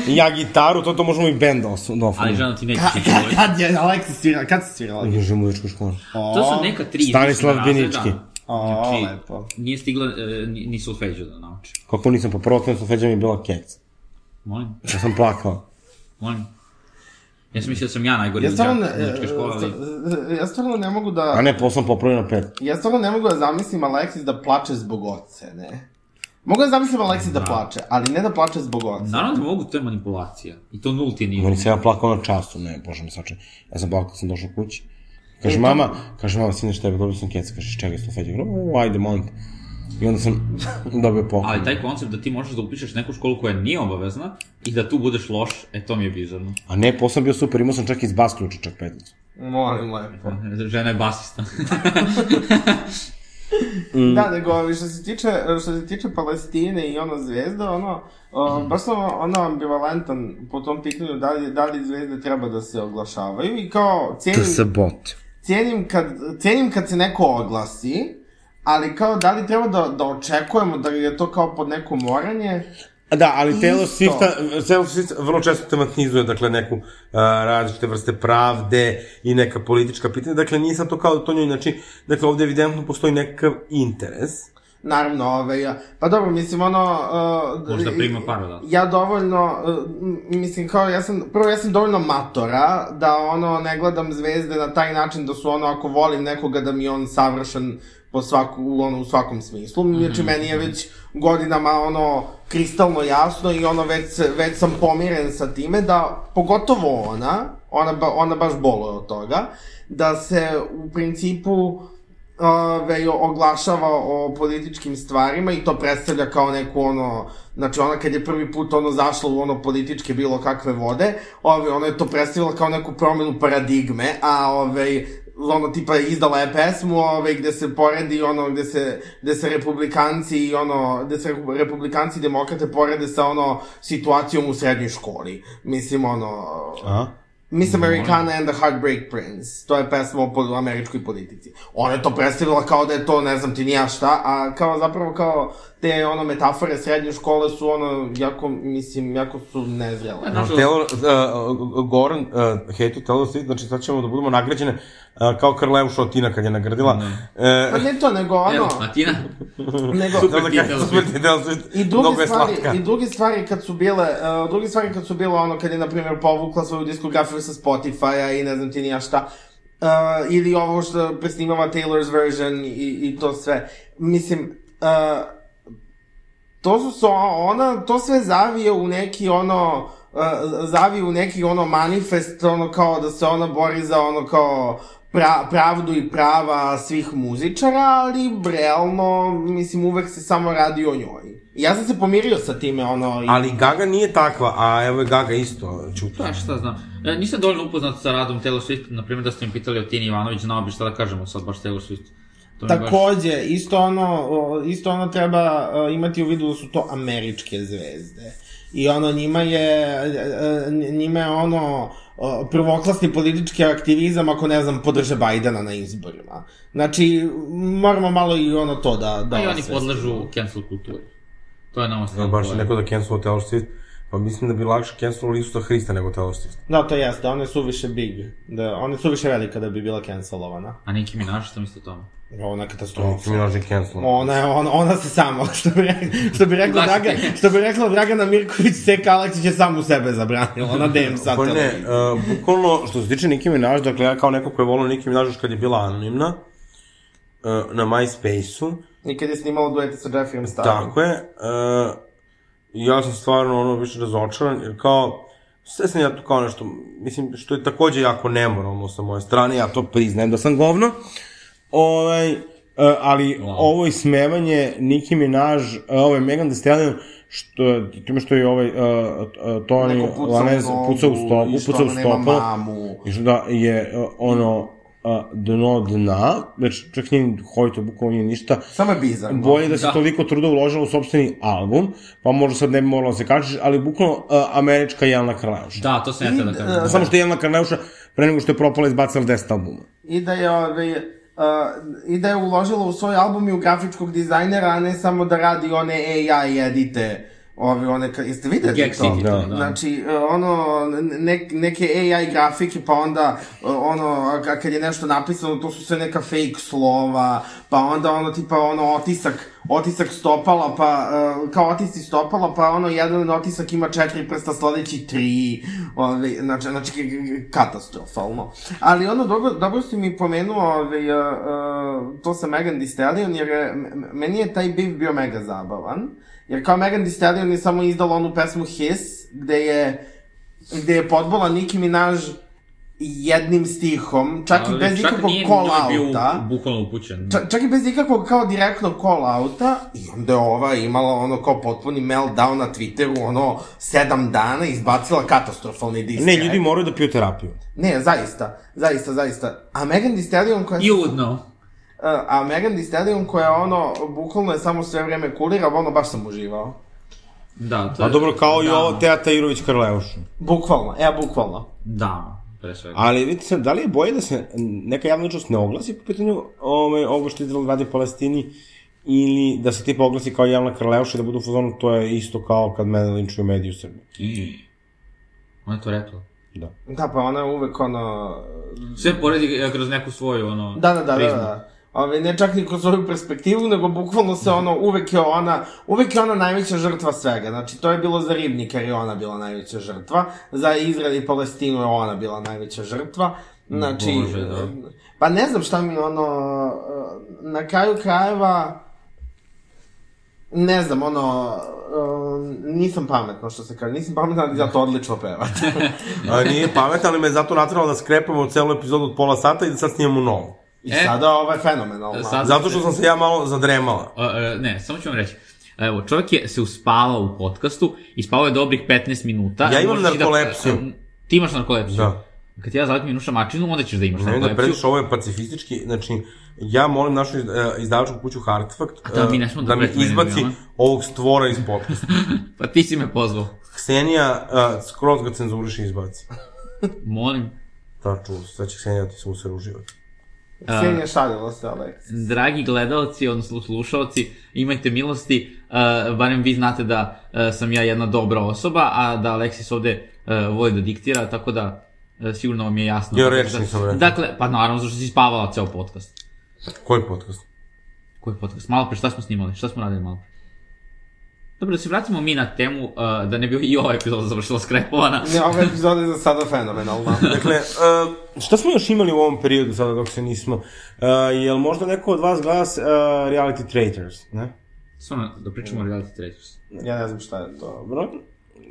Speaker 4: Ja gitaru, to to možemo i bend da
Speaker 5: Ali
Speaker 4: dofano.
Speaker 5: žena
Speaker 4: (laughs)
Speaker 5: ti neće ići u vojsku.
Speaker 3: (laughs) kad je Aleksa svirala, kad se svirala?
Speaker 4: Uđeš u muzičku školu.
Speaker 5: To su neka tri
Speaker 4: Stanislav
Speaker 5: izvršna razreda.
Speaker 4: Binički.
Speaker 3: O,
Speaker 5: Znači,
Speaker 3: lepo.
Speaker 5: Nije stigla, e, ni, ni solfeđu da nauči.
Speaker 4: Kako nisam, pa prvo kada sam feđa mi je bila kekca.
Speaker 5: Molim,
Speaker 4: Ja sam plakao.
Speaker 5: molim. Ja sam mislio da sam ja najgori
Speaker 3: Ja
Speaker 5: ja
Speaker 3: stvarno,
Speaker 5: sam,
Speaker 3: ne,
Speaker 5: muzičke škole, ali...
Speaker 3: e, e, ja stvarno ne mogu da...
Speaker 4: A ne, posao sam popravio na pet.
Speaker 3: Ja stvarno ne mogu da zamislim Aleksis da plače zbog oce, ne? Mogu da zamislim Aleksis da plače, ali ne da plače zbog oce.
Speaker 5: Naravno da mogu, to je manipulacija. I to nulti nivo.
Speaker 4: Meni se ja plakao na času, ne, bože mi sače. Ja sam plakao kad sam došao kući. Kaže, mama, kaže, mama, sine, šta je, dobio sam keca. Kaže, iz čega sam feđa? Gro, "O, ajde, molim te. I onda sam dobio poklon.
Speaker 5: Ali taj koncept da ti možeš da upišeš neku školu koja nije obavezna i da tu budeš loš, e to mi je bizarno.
Speaker 4: A ne, posao sam bio super, imao sam čak i iz bas ključa, čak petnicu.
Speaker 3: Molim,
Speaker 4: Pa,
Speaker 3: lepo.
Speaker 5: Žena je basista.
Speaker 3: Da, nego, ali što se tiče, što se tiče Palestine i ono zvezda, ono, o,
Speaker 5: Mm.
Speaker 3: baš sam ono ambivalentan po tom pitanju da li, da li zvezde treba da se oglašavaju i kao cijenim,
Speaker 4: bot.
Speaker 3: cijenim, kad, cijenim kad se neko oglasi, ali kao da li treba da, da očekujemo da je to kao pod neko moranje?
Speaker 4: Da, ali Taylor
Speaker 3: Isto.
Speaker 4: Swift, Taylor Swift vrlo često tematizuje, dakle, neku uh, različite vrste pravde i neka politička pitanja, dakle, nije sad to kao da to njoj, znači, dakle, ovde evidentno postoji nekakav interes
Speaker 3: Naravno, ovaj, ja- pa dobro, mislim, ono... Uh,
Speaker 5: Možda
Speaker 3: i-
Speaker 5: prima paru, da.
Speaker 3: Ja dovoljno, uh, m- mislim, kao ja sam, prvo ja sam dovoljno matora da ono ne gledam zvezde na taj način da su ono, ako volim nekoga da mi je on savršen po svaku, u ono, u svakom smislu.
Speaker 5: Mhm,
Speaker 3: Znači, meni je već godinama ono kristalno jasno i ono već, se- već sam pomiren sa time da, pogotovo ona, ona, ba, ona baš boluje od toga, da se u principu ove, oglašava o političkim stvarima i to predstavlja kao neku ono, znači ona kad je prvi put ono zašla u ono političke bilo kakve vode, ove, ona je to predstavila kao neku promenu paradigme, a ove, ono tipa izdala je pesmu ove, gde se poredi ono gde se, gde se republikanci i ono gde se republikanci i demokrate porede sa ono situacijom u srednjoj školi. Mislim ono
Speaker 4: A?
Speaker 3: Miss Americana and the Heartbreak Prince. To je pesma o pol- američkoj politici. Ona je to predstavila kao da je to, ne znam ti nija šta, a kao zapravo kao te ono metafore srednje škole su ono, jako, mislim, jako su nezrele.
Speaker 5: Pa, Nažalost-
Speaker 4: Taylor, uh, Goran uh, hejtu Taylor Swift, znači sad ćemo da budemo nagrađene uh, kao Karleuša Otina kad je nagradila.
Speaker 3: Pa
Speaker 4: Uh,
Speaker 3: ne to, nego ono,
Speaker 5: Evo, Martina,
Speaker 3: nego...
Speaker 5: super ti Taylor Swift.
Speaker 4: Taylor Swift,
Speaker 3: I
Speaker 4: mnogo
Speaker 3: druge
Speaker 4: je
Speaker 3: stvari,
Speaker 4: slatka.
Speaker 3: i druge stvari kad su bile, uh, druge stvari kad su bile ono kad je na primjer povukla svoju diskografiju sa Spotify-a i ne znam ti ni ja šta. Uh, ili ovo što presnimava Taylor's version i, i to sve. Mislim, uh, to su so, ona, to sve zavije u neki ono, uh, zavije u neki ono manifest, ono kao da se ona bori za ono kao pra, pravdu i prava svih muzičara, ali realno, mislim, uvek se samo radi o njoj. I Ja sam se pomirio sa time, ono, i...
Speaker 4: Ali Gaga nije takva, a evo je Gaga isto čuta.
Speaker 5: Pa šta znam. E, nisam dovoljno upoznat sa radom Taylor Swift, na primjer da ste mi pitali o Tini Ivanović, znao bi šta da kažemo sad baš Taylor Swift. To mi je baš-
Speaker 3: Takođe, isto ono, o, isto ono treba o, imati u vidu da su to američke zvezde. I ono, njima je, e, e, njima je ono, o, prvoklasni politički aktivizam ako, ne znam, podrže Bajdana na izborima. Znači, moramo malo i ono to da... da
Speaker 5: Pa i oni
Speaker 3: osvestimo.
Speaker 5: podlažu cancel kulturi. To je nama
Speaker 4: Da,
Speaker 5: stvarno.
Speaker 4: baš je
Speaker 3: Ovaj.
Speaker 5: problem.
Speaker 4: neko da cancelo Taylor Swift, pa mislim da bi lakše cancelovali Isusa Hrista nego Taylor Swift.
Speaker 3: Da, to jeste, ona je suviše big. Da, ona je suviše velika da bi bila cancelovana.
Speaker 5: A Nicki Minaj, šta mislite o tome?
Speaker 3: Ona je
Speaker 4: To
Speaker 3: katastrofa.
Speaker 4: mi naže cancelo.
Speaker 3: Ona, je, ona, ona se samo, (laughs) što bi, re- što bi rekla,
Speaker 5: Znači.
Speaker 3: Draga, što bi rekla Dragana Mirković, Sek Aleksić je sam u sebe zabranila, (laughs) ona dem sad.
Speaker 4: Pa ne,
Speaker 3: televiziji.
Speaker 4: uh, bukvalno, što se tiče Nicki Minaj, dakle ja kao neko ko je volao Nicki Minaj još kad je bila anonimna, uh, na MySpace-u,
Speaker 3: Nikad je snimala duete sa
Speaker 4: Da.
Speaker 3: Jeffreyem Starom.
Speaker 4: Tako je. Uh, ja sam stvarno ono više razočaran, jer kao, sve sam ja tu kao nešto, mislim, što je takođe jako nemoralno sa moje strane, ja to priznajem da sam govno. Ovaj, uh, ali wow. ovo ismevanje Nicki Minaj, uh, ovo je Megan Thee Stallion, što, time što je ovaj uh, uh, Tony
Speaker 3: Neko puca u
Speaker 4: Lanez
Speaker 3: nogu
Speaker 4: pucao u stopu,
Speaker 3: i što
Speaker 4: pucao u
Speaker 3: ona nema
Speaker 4: stopu,
Speaker 3: mamu.
Speaker 4: i što da je uh, ono uh, dno dna, znači čak nije hojto, bukvalno nije ništa,
Speaker 3: Samo je bizarno.
Speaker 4: bolje da se
Speaker 5: Da.
Speaker 4: da. toliko truda uložilo u sobstveni album, pa možda sad ne bi morala da se kačiš, ali bukvalno uh, američka Jelena Karleuša.
Speaker 5: Da, to sam ja tada
Speaker 3: e,
Speaker 5: kažem.
Speaker 4: Samo što je Jelena Karleuša pre nego što je propala izbacila 10 albuma.
Speaker 3: I da je, ove, uh, i da je uložila u svoj album i u grafičkog dizajnera, a ne samo da radi one AI edite, ove, one, ka- jeste videli
Speaker 5: Gag
Speaker 3: to?
Speaker 5: City, to,
Speaker 4: da.
Speaker 5: da.
Speaker 3: Znači, e, ono, ne, neke AI grafike, pa onda, e, ono, a ka- kad je nešto napisano, to su sve neka fake slova, pa onda, ono, tipa, ono, otisak, otisak stopala, pa, e, kao otisci stopala, pa, ono, jedan otisak ima četiri prsta, sledeći tri, ove, znači, znači, k- k- katastrofalno. Ali, ono, dobro, dobro si mi pomenuo, ove, e, e, to sa Megan Thee Stallion, jer je, m- m- meni je taj beef bio mega zabavan, jer kao Megan Thee Stallion je samo izdala onu pesmu His, gde je, gde je podbola Nicki Minaj jednim stihom, čak i bez ikakvog call-outa.
Speaker 5: bio bukvalno upućen.
Speaker 3: Ča- čak i bez ikakvog kao direktnog call-outa i onda je ova imala ono kao potpuni meltdown na Twitteru, ono sedam dana i izbacila katastrofalni disk.
Speaker 4: Ne, ljudi moraju da piju terapiju.
Speaker 3: Ne, zaista, zaista, zaista. A Megan Thee Stallion koja...
Speaker 5: You would know.
Speaker 3: Uh, a Megan Thee Stallion koja ono, bukvalno je samo sve vreme kulira, ono baš sam uživao.
Speaker 5: Da, to
Speaker 4: A
Speaker 5: je...
Speaker 4: Pa dobro, kao i
Speaker 5: dama.
Speaker 4: ovo Teata Irović Karleuša.
Speaker 3: Bukvalno, e, bukvalno.
Speaker 5: Dama, Da, pre svega.
Speaker 4: Ali vidite se, da li je bolje da se neka javna ličnost ne oglasi po pitanju ove, ovo što Izrael radi u Palestini ili da se tipa oglasi kao javna Karleuša i da budu u fazonu, to je isto kao kad mene linčuju mediji u Srbiji.
Speaker 5: I... Ona je to rekla.
Speaker 4: Da.
Speaker 3: Da, pa ona je uvek ono...
Speaker 5: Sve poredi e, kroz neku svoju, ono,
Speaker 3: Da, da, da, da,
Speaker 5: prizmu.
Speaker 3: da. Ove, ne čak ni kroz svoju perspektivu, nego bukvalno se ono, uvek je ona, uvek je ona najveća žrtva svega. Znači, to je bilo za ribnik, jer je ona bila najveća žrtva. Za Izrael i Palestinu je ona bila najveća žrtva. Znači,
Speaker 5: Bože, da.
Speaker 3: pa ne znam šta mi ono, na kraju krajeva, ne znam, ono, um, nisam pametno što se kaže, nisam da pametna, ali zato odlično
Speaker 5: (laughs)
Speaker 3: pevate.
Speaker 4: A, nije pametno, ali me je zato natralo da skrepamo celu epizodu od pola sata i da sad snimamo novo.
Speaker 3: I
Speaker 5: E.
Speaker 3: sada ovo je fenomenalno.
Speaker 5: Sad-
Speaker 4: Zato što sam se ja malo zadremala.
Speaker 5: A, e, ne, samo ću vam reći. Evo, čovjek je se uspavao u podcastu i spavao je dobrih 15 minuta.
Speaker 4: Ja imam
Speaker 5: Možeš i
Speaker 4: narkolepsiju.
Speaker 5: Da, ti imaš narkolepsiju?
Speaker 4: Da.
Speaker 5: Kad ti ja zalepim Nuša Mačinu, onda ćeš da imaš
Speaker 4: Ne da
Speaker 5: narkolepsiju.
Speaker 4: prediš, ovo je pacifistički, znači, ja molim našu iz- e, izdavačku kuću Hartfakt
Speaker 5: da,
Speaker 4: e,
Speaker 5: mi ne smemo
Speaker 4: da
Speaker 5: da
Speaker 4: mi
Speaker 5: pretimo
Speaker 4: izbaci
Speaker 5: Emilom,
Speaker 4: ovog stvora iz podcasta.
Speaker 5: Pa ti si me pozvao.
Speaker 4: Ksenija e, skroz ga cenzuriš i izbaci.
Speaker 5: Molim.
Speaker 4: Da, čuo, sad će Ksenija ti se usere uživati.
Speaker 3: Ksenija šalila se, Aleks.
Speaker 5: Dragi gledalci, odnosno slušalci, imajte milosti, uh, barem vi znate da uh, sam ja jedna dobra osoba, a da Aleksis ovde uh, voli da diktira, tako da uh, sigurno vam je jasno.
Speaker 4: Ja reč nisam rekao.
Speaker 5: Dakle, pa naravno, zašto si spavala ceo podcast.
Speaker 4: Koji podcast?
Speaker 5: Koji podcast? Malo pre, šta smo snimali? Šta smo radili malo pre? Dobro, da se vratimo mi na temu, uh, da ne bi i ova epizoda završila skrepovana.
Speaker 3: Ne, ova epizoda je za sada fenomenalna.
Speaker 4: Dakle, e, šta smo još imali u ovom periodu sada dok se nismo? E, jel možda neko od vas gleda e, Reality Traitors, ne?
Speaker 5: Stvarno, da pričamo o reality traitors.
Speaker 3: Ja ne znam šta je to.
Speaker 4: Dobro.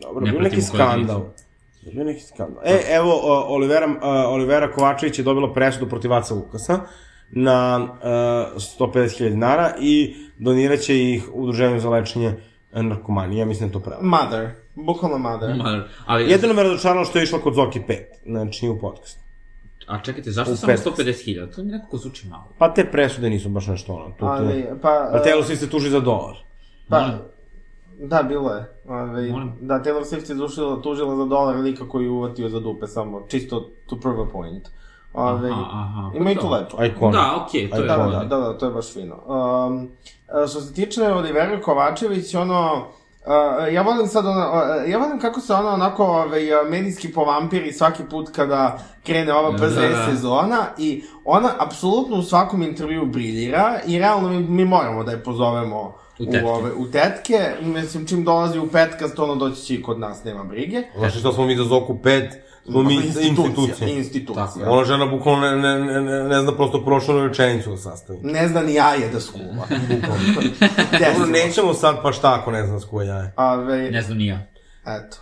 Speaker 4: Dobro,
Speaker 5: Ne
Speaker 4: bio neki
Speaker 5: pratimo koja je
Speaker 4: skandal. Bio neki skandal. E, evo, o, Olivera, a, Olivera Kovačević je dobila presudu protiv Vaca Lukasa na e, a, 150.000 dinara i doniraće ih udruženju za lečenje e, narkomanije. Ja mislim da je to pravo.
Speaker 3: Mother. Bukvalno Mother.
Speaker 5: Ma, Ali,
Speaker 4: Jedino me razočaralo što je išla kod Zoki 5, znači u podcast.
Speaker 5: a čekajte, zašto
Speaker 4: U
Speaker 5: samo
Speaker 4: petnaest.
Speaker 5: 150.000? To mi nekako zvuči malo.
Speaker 4: Pa te presude nisu baš nešto ono. Tu,
Speaker 3: Ali,
Speaker 4: tu.
Speaker 3: pa...
Speaker 4: A
Speaker 3: e,
Speaker 4: telo svi se tuži za dolar.
Speaker 3: pa,
Speaker 5: Molim.
Speaker 3: da, bilo je. Ove,
Speaker 5: Molim.
Speaker 3: da, Taylor Swift je dušila, tužila za dolar lika koji je uvatio za dupe, samo čisto to prove a point. Ove,
Speaker 5: Aha, aha,
Speaker 3: ima i
Speaker 5: pa
Speaker 3: tu
Speaker 5: to.
Speaker 3: lepo.
Speaker 4: Iconic.
Speaker 5: Da, okej, to je
Speaker 3: Da,
Speaker 4: Ajde,
Speaker 5: ono.
Speaker 3: da, da, da, to je baš fino. Um, a, što se tiče Olivera Kovačević, ono, Uh, ja volim sad ono, uh, ja volim kako se ona onako ovaj, uh, medijski povampiri svaki put kada krene ova PZ
Speaker 5: Da, da.
Speaker 3: sezona i ona apsolutno u svakom intervju briljira i realno mi, mi moramo da je pozovemo
Speaker 5: U
Speaker 3: u,
Speaker 5: tetke.
Speaker 3: u, ove, u tetke. Mislim, čim dolazi u petkast, ono doći će i kod nas, nema brige.
Speaker 4: Znači što smo mi za Zoku 5, smo
Speaker 5: Pa,
Speaker 4: mi institucija.
Speaker 3: Institucija.
Speaker 5: Tako je.
Speaker 4: Ona žena bukvalno ne, ne, ne- ne, ne zna prosto prošlu rečenicu da sastavi.
Speaker 3: Ne zna ni jaje da
Speaker 5: (laughs)
Speaker 3: skuva.
Speaker 4: Dobro,
Speaker 3: Desilo se.
Speaker 4: nećemo sad pa šta ako ne znam s koje jaje.
Speaker 3: Ove,
Speaker 5: Ne znam ni ja.
Speaker 3: Eto.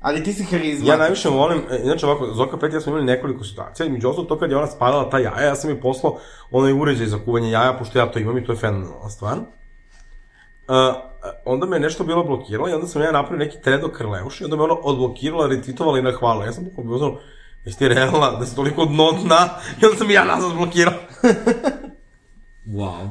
Speaker 3: Ali ti si harizma.
Speaker 4: Ja najviše volim, e, inače ovako, Zoka 5 ja smo imali nekoliko situacija, i među ostalo to kad je ona spalila ta jaja, ja sam joj poslao onaj uređaj za kuvanje jaja, pošto ja to imam i to je fenomenalna stvar. Uh, onda me je nešto bilo blokiralo i onda sam ja napravio neki thread o Krleuši, onda me ona odblokirala, retvitovala i nahvalila. Ja sam bukvalno bio znao, jesi ti realna da si toliko dno dna, i onda sam i ja nazad blokirao.
Speaker 5: Wow.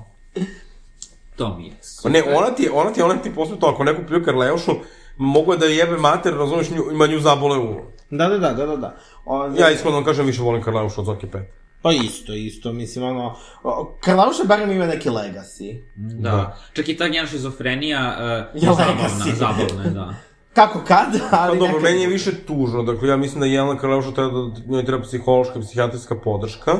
Speaker 5: To mi je.
Speaker 4: Pa ne, ona ti, je- ona ti, je- ona ti posle to, ako neko pljuje Krleušu, mogu je da je jebe mater, razumeš, nju, ima nju zabole u uvo.
Speaker 3: Da, da, da, da, da, da. Ove,
Speaker 4: Ja iskreno vam kažem, više volim Karlaušu od Zoki 5.
Speaker 3: Pa isto, isto, mislim, ono... o, Karlauša barem ima neki legacy.
Speaker 5: Da.
Speaker 4: Da.
Speaker 5: Čak i ta njena šizofrenija uh,
Speaker 3: Ja,
Speaker 5: zabavna,
Speaker 3: legacy.
Speaker 5: zabavna je, da.
Speaker 3: Kako kad,
Speaker 4: Pa
Speaker 3: ali...
Speaker 4: dobro,
Speaker 3: neka-
Speaker 4: meni je više tužno, dakle ja mislim da Jelena Karleuša treba da njoj treba psihološka, psihijatrijska podrška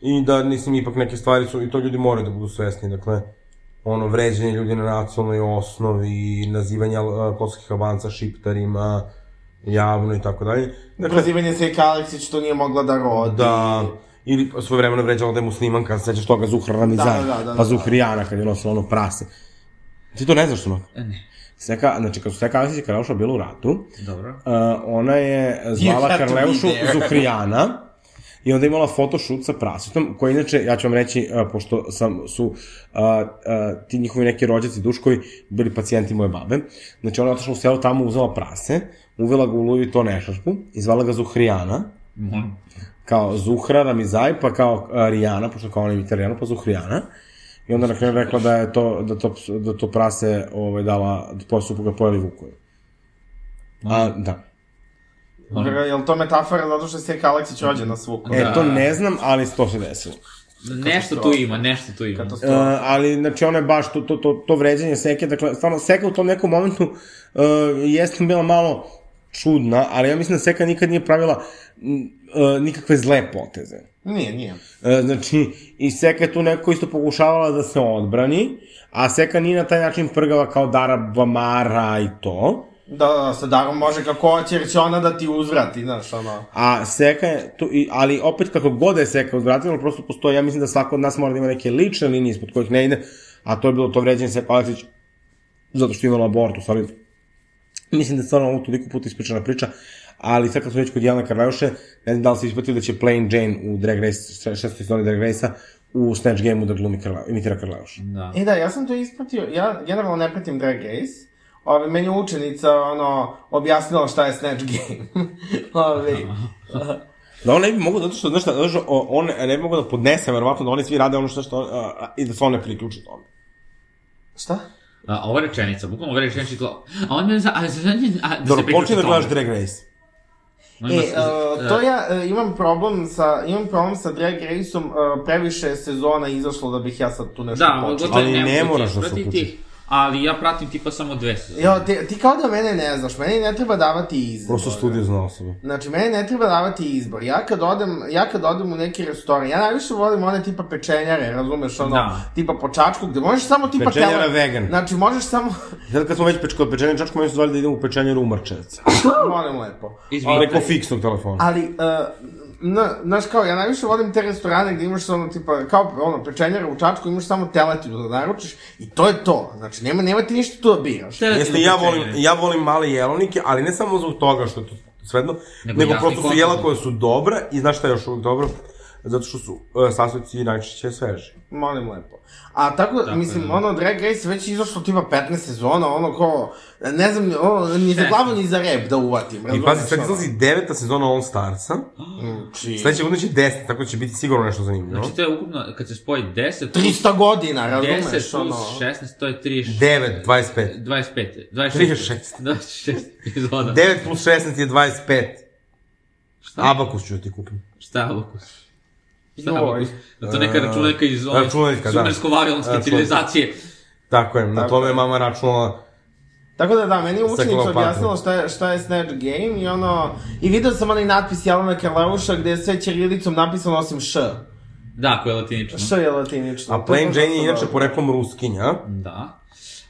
Speaker 4: i da mislim ipak neke stvari su, i to ljudi moraju da budu svesni, dakle ono vređanje ljudi na nacionalnoj osnovi, nazivanje uh, kosovskih albanca šiptarima, javno i tako dalje. Dakle,
Speaker 3: Prozivanje se kao Aleksić što nije mogla da rodi.
Speaker 4: Da, ili svoje vremena vređala da je muslimanka, sećaš toga Zuhra Ramizan,
Speaker 3: Da, da, da, da,
Speaker 4: pa
Speaker 3: da.
Speaker 4: Zuhrijana kad je nosila ono prase. Ti to ne znaš, Toma?
Speaker 5: E, Ne,
Speaker 4: Seka, znači, kad su Seka Aleksić i Karleuša bila u ratu, uh,
Speaker 5: dobro.
Speaker 4: ona je
Speaker 3: You
Speaker 4: zvala
Speaker 3: have to be
Speaker 4: Karleušu
Speaker 5: (laughs)
Speaker 3: there.
Speaker 4: Zuhrijana, I onda je imala photoshoot sa prasetom, koji inače, ja ću vam reći, uh, pošto sam, su uh, uh, ti njihovi neki rođaci Duškovi bili pacijenti moje babe, znači ona je otišla u selo tamo, uzela prase, uvela ga u Louis Vuitton ešarpu, izvala ga Zuhrijana,
Speaker 5: Molim.
Speaker 4: kao Zuhra Ramizaj, pa kao a, Rijana, pošto kao ona je italijana, pa Zuhrijana. I onda na kraju rekla da je to, da to, ps- da to prase ovaj, dala, da po supruga pojeli vukovi. A, da.
Speaker 5: Molim.
Speaker 3: Je li to metafora zato što se kao Aleksić rođena s Vukom?
Speaker 4: E,
Speaker 5: Da.
Speaker 4: to ne znam, ali to se desilo.
Speaker 5: Nešto tu ima, nešto tu ima.
Speaker 3: Katastrofa.
Speaker 4: Uh, ali, znači, ona je baš to, to, to, to vređanje Seke, dakle, stvarno, Seka u tom nekom momentu uh, jeste bila malo čudna, ali ja mislim da Seka nikad nije pravila m, uh, nikakve e, zle poteze.
Speaker 3: Nije, nije.
Speaker 4: E, Znači, i Seka je tu nekako isto pokušavala da se odbrani, a Seka nije na taj način prgava kao Dara Bamara i to.
Speaker 3: Da, da, sa darom može kako hoće, jer će ona da ti uzvrati, znaš, ono.
Speaker 4: A Seka je tu, i- ali opet kako god da je Seka odvratila, prosto postoji, ja mislim da svako od nas mora da ima neke lične linije ispod kojih ne ide, a to je bilo to vređenje Seka Aleksić, zato što je imala abortus, ali mislim da je stvarno ovo toliko puta ispričana priča, ali sad kad smo već kod Jelena Karleuše, ne znam da li se ispratio da će Plain Jane u Drag Race, šestoj sezoni Drag Race-a, u Snatch Game-u da glumi Karleu, imitira Karleuša.
Speaker 5: Da.
Speaker 3: E da, ja sam to ispratio, ja generalno ne pratim Drag Race. Ove, meni je učenica, ono, objasnila šta je Snatch Game. (laughs) Ove,
Speaker 4: Da on ne bi mogao, zato što, znaš šta, znaš, o- on ne bi mogao da podnese, verovatno, da oni svi rade ono što, što a, i da se on ne priključi tome.
Speaker 3: šta?
Speaker 5: A, ova rečenica, bukvalno ova rečenica, to- a on mene za... A, za, a, da
Speaker 4: Dobro,
Speaker 5: se priključi
Speaker 4: počne da
Speaker 5: tome.
Speaker 4: gledaš Drag Race.
Speaker 5: On
Speaker 3: E,
Speaker 5: ima-
Speaker 3: uh, to ja e, imam problem sa, imam problem sa Drag Race-om, e, previše je sezona izašlo da bih ja sad tu nešto
Speaker 5: Da,
Speaker 3: počeo.
Speaker 5: gotovo
Speaker 4: Ali
Speaker 5: ne,
Speaker 4: ne
Speaker 5: mogu
Speaker 4: moraš
Speaker 5: ti
Speaker 4: da se
Speaker 5: ispratiti,
Speaker 4: uključiš.
Speaker 5: Ali ja pratim tipa samo dve sezone.
Speaker 3: Jo, ti, ti kao da mene ne znaš, meni ne treba davati izbor.
Speaker 4: Prosto studiozna osoba.
Speaker 3: Znači, meni ne treba davati izbor. Ja kad odem, ja kad odem u neki restoran, ja najviše volim one tipa pečenjare, razumeš, ono,
Speaker 5: Da.
Speaker 3: tipa po čačku, gde možeš samo tipa...
Speaker 4: Pečenjara vegan.
Speaker 3: Znači, možeš
Speaker 4: (coughs)
Speaker 3: samo...
Speaker 4: Sad kad smo već peč, kod pečenja čačka, meni su zvali da idem u pečenjaru u Marčevca.
Speaker 3: Molim lepo.
Speaker 5: Izvinite.
Speaker 4: Preko fiksnog telefona.
Speaker 3: Ali, uh, na, znaš kao, ja najviše volim te restorane gde imaš ono, tipa, kao ono, pečenjara u Čačku, imaš samo teletinu da naručiš i to je to. Znači, nema, nema ti ništa tu da biraš.
Speaker 5: Te-
Speaker 4: Jeste, ja volim, ja volim male jelovnike, ali ne samo zbog toga što je to svedno, nego,
Speaker 5: Nego
Speaker 4: nego
Speaker 5: jasni
Speaker 4: prosto su
Speaker 5: koncept.
Speaker 4: jela koja su dobra i znaš šta je još uvijek dobro? Zato što su uh, sastojci najčešće sveži.
Speaker 3: Molim lepo. A tako, da, mislim, ono, Drag Race već izašlo tipa 15 sezona, ono ko, ne znam, ono, ni za glavu, ni za rep da uvatim.
Speaker 4: E. I
Speaker 3: razumeš,
Speaker 4: pazi, sad
Speaker 3: ono?
Speaker 4: izlazi deveta sezona All Starsa,
Speaker 3: Znači,
Speaker 4: sledeće godine će deset, tako da će biti sigurno nešto zanimljivo.
Speaker 5: Znači to je ukupno, kad se spoji 10,
Speaker 3: 300 godina,
Speaker 5: 10
Speaker 3: razumeš,
Speaker 5: plus
Speaker 3: ono.
Speaker 5: 16, to je 36.
Speaker 4: 9, 25.
Speaker 5: 25.
Speaker 4: 36.
Speaker 5: 26. 26 epizoda.
Speaker 4: 9 plus 16 je 25. Šta? Abakus ću da ti kupim.
Speaker 5: Šta je Abakus? Šta je
Speaker 3: Joj.
Speaker 5: Abakus? Da to neka računarka iz ove
Speaker 4: Računarka, da.
Speaker 5: sumersko-vavilonske
Speaker 4: Računarka.
Speaker 5: civilizacije.
Speaker 4: Tako je, na
Speaker 3: Tako
Speaker 4: tome
Speaker 3: je.
Speaker 4: je mama računala
Speaker 3: Tako da da, meni je učenica
Speaker 4: Kleopatrom.
Speaker 3: objasnila šta je, šta je Snatch Game i ono, i video sam onaj natpis Jelena Karleuša gde je sve ćirilicom napisano osim Š.
Speaker 5: Da, koja je latinična.
Speaker 3: Š je latinično.
Speaker 4: A Plain
Speaker 3: To
Speaker 4: Jane je
Speaker 3: baš
Speaker 4: inače
Speaker 3: dobro.
Speaker 4: poreklom Ruskinja.
Speaker 5: Da.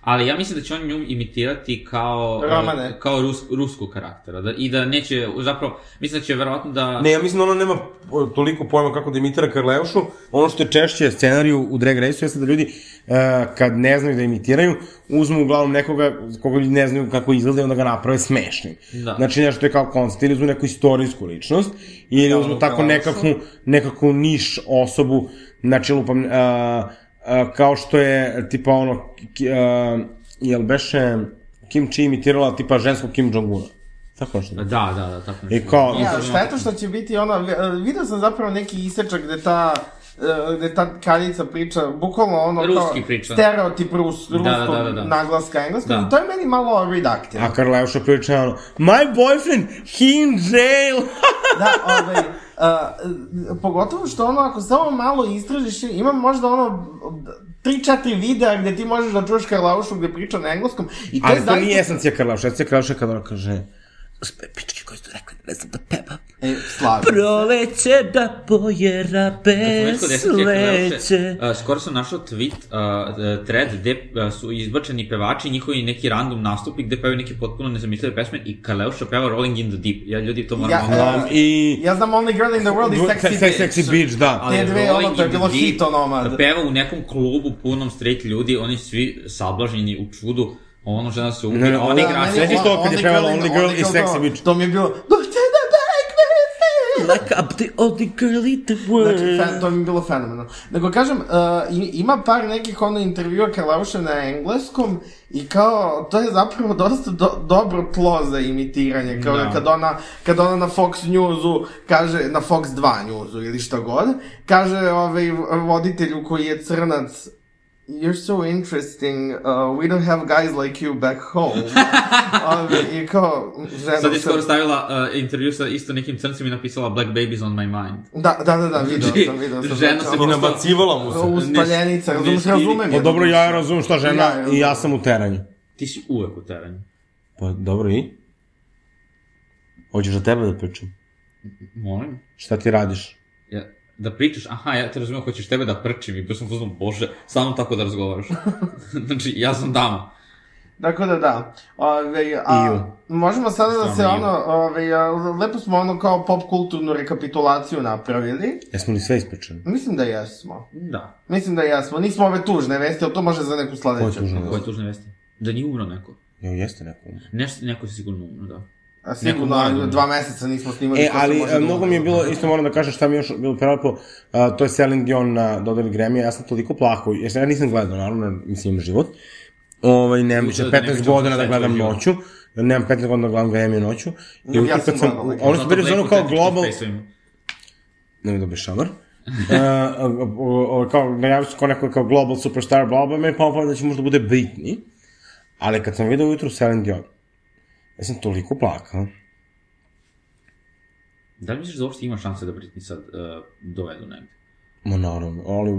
Speaker 5: Ali ja mislim da će on nju imitirati kao, e,
Speaker 3: Romane.
Speaker 5: kao rus, rusku karaktera. Da, I da neće, zapravo, mislim da će verovatno da...
Speaker 4: Ne, ja mislim da ona nema o, toliko pojma kako da imitira Karleušu. Ono što je češće scenariju u Drag Race-u jeste da ljudi, e, kad ne znaju da imitiraju, uzmu uglavnom nekoga koga ljudi ne znaju kako izgleda i onda ga naprave smešnim.
Speaker 5: Da.
Speaker 4: Znači nešto je kao koncept, ili uzmu neku istorijsku ličnost, ili
Speaker 3: Da,
Speaker 4: uzmu
Speaker 3: ono,
Speaker 4: tako
Speaker 3: kao
Speaker 4: nekakvu, nekakvu niš osobu, znači lupam, a, a, kao što je tipa ono, ki- a, jel beše Kim Chi imitirala tipa ženskog Kim Jong-una? Tako nešto.
Speaker 5: Da, da, da, tako
Speaker 4: I kao,
Speaker 3: Ja, šta je to što će biti ono, vi- video sam zapravo neki isečak gde ta e, gde ta kraljica priča, bukvalno ono
Speaker 5: Ruski priča.
Speaker 3: stereotip rus, ruskog
Speaker 5: da, da, da.
Speaker 3: naglaska engleskog,
Speaker 5: Da.
Speaker 3: i to je meni malo redaktivno.
Speaker 4: A Karleuša priča ono, my boyfriend, he in
Speaker 3: (laughs)
Speaker 4: jail.
Speaker 3: da, ovaj, uh, pogotovo što ono, ako samo malo istražiš, ima možda ono, tri, četiri videa gde ti možeš da čuješ Karlaušu gde priča na engleskom. I to je
Speaker 4: Ali to
Speaker 3: E, zaista...
Speaker 4: nije esencija Karleuša, esencija Karleuša je kada ona kaže, sve pičke koje su rekli, ne znam da peva.
Speaker 3: E, slažem.
Speaker 1: Proleće da pojera besleće.
Speaker 5: Uh, skoro sam našao tweet, uh, thread, gde uh, su izbačeni pevači, njihovi neki random nastupi, gde pevaju neke potpuno nezamislive pesme i Kaleuša peva Rolling in the Deep. Ja ljudi to moram...
Speaker 3: Ja,
Speaker 5: ono-
Speaker 3: e,
Speaker 4: Um, I...
Speaker 3: Ja znam Only Girl in the World i Sexy
Speaker 4: Sex-
Speaker 3: Bitch.
Speaker 4: Sexy bitch, da.
Speaker 5: Ali
Speaker 3: Te dve,
Speaker 5: Rolling
Speaker 3: ono, to je
Speaker 5: in the
Speaker 3: bilo
Speaker 5: Deep,
Speaker 3: hit, onomad.
Speaker 5: da Peva u nekom klubu punom straight ljudi, oni svi sablaženi u čudu, ono žena se ubija,
Speaker 4: Ne,
Speaker 5: a ona
Speaker 4: da,
Speaker 5: igra
Speaker 4: meni- Sećaš to kad je pevala Only Girl i Sexy
Speaker 3: to-
Speaker 4: Bitch?
Speaker 3: To mi je bilo... Do te da daj,
Speaker 1: Like up the only girl in the
Speaker 3: Znači,
Speaker 1: world.
Speaker 3: fen, to mi je bilo fenomenalno. Nego kažem, uh, i- ima par nekih ono intervjua Karlauše na engleskom i kao, to je zapravo dosta do, dobro tlo za imitiranje. Kao
Speaker 5: Da.
Speaker 3: kad, ona, kad ona na Fox Newsu kaže, na Fox 2 Newsu ili šta god, kaže ovaj voditelju koji je crnac, You're so interesting, uh, we don't have guys like you back
Speaker 5: (laughs)
Speaker 3: home. Ove, I kao, žena...
Speaker 5: Sad je
Speaker 3: sam-
Speaker 5: skoro stavila uh, intervju sa isto nekim crncem i napisala Black Babies on my mind.
Speaker 3: Da, da, (laughs) da, da, vidio sam, vidio sam. znači,
Speaker 5: Žena se
Speaker 4: I nabacivala mu se.
Speaker 3: Uspaljenica,
Speaker 5: Ne-
Speaker 3: razumeš,
Speaker 5: ne
Speaker 3: razumem
Speaker 4: Pa
Speaker 3: je.
Speaker 4: dobro, ja razumem šta žena
Speaker 3: Ja, ja
Speaker 4: i ja
Speaker 3: razumem.
Speaker 4: sam u teranju.
Speaker 5: Ti si uvek u teranju.
Speaker 4: Pa dobro i? Hoćeš da tebe da pričam?
Speaker 5: Molim?
Speaker 4: Šta ti radiš?
Speaker 5: Ja, da pričaš, aha, ja te razumijem, hoćeš tebe da prčim i bio sam pozvan, bože, samo tako da razgovaraš. (laughs) znači, ja sam dama.
Speaker 3: Tako da da. Ove, a,
Speaker 6: Iju.
Speaker 3: možemo sada da
Speaker 5: Stvarno
Speaker 3: se
Speaker 5: iju.
Speaker 3: ono, ove, a, lepo smo ono kao pop kulturnu rekapitulaciju napravili.
Speaker 6: Jesmo li sve ispričali?
Speaker 3: Mislim da jesmo.
Speaker 5: Da.
Speaker 3: Mislim da jesmo. Nismo ove tužne vesti, ali to može za neku
Speaker 6: Ko je
Speaker 3: sledeću.
Speaker 6: tužno?
Speaker 5: Koje tužne vesti? Da nije umro neko.
Speaker 6: Jo, jeste neko.
Speaker 5: Neš, neko je sigurno umro, da.
Speaker 3: A sigurno,
Speaker 5: Neko mora.
Speaker 3: dva meseca nismo snimali.
Speaker 6: E,
Speaker 3: što se
Speaker 6: ali
Speaker 3: može
Speaker 6: e, mnogo
Speaker 3: da-
Speaker 6: mi je bilo, isto moram da kažem šta mi je još bilo prelepo, a, to je Celine Dion na dodeli Grammy, ja sam toliko plako, jer sam- ja nisam gledao, naravno, mislim, život. Ovaj, nemam više
Speaker 5: Uzeo da ne
Speaker 6: 15
Speaker 5: pričamo
Speaker 6: godina
Speaker 5: šta
Speaker 6: da
Speaker 5: je
Speaker 6: gledam
Speaker 5: tvoj život.
Speaker 6: noću, nemam 15 godina da gledam Grammy noću. I
Speaker 3: Ja
Speaker 6: uvijek
Speaker 3: sam
Speaker 6: kad sam,
Speaker 3: gledao,
Speaker 6: oni su
Speaker 5: Zato
Speaker 6: bili za ono
Speaker 5: Blake
Speaker 6: kao
Speaker 5: u
Speaker 6: global,
Speaker 5: tehničkim fejsovima.
Speaker 6: ne mi dobiješ šamar, E, o, o, kao, najavio su kao neko kao global superstar, bla, bla, me pa opavljam da će možda bude Britney, ali kad sam vidio ujutru Celine Dion, ja sam toliko plakao,
Speaker 5: Da li misliš da uopšte ima šanse da Britney sad uh, dovedu negde?
Speaker 6: ma naravno, ali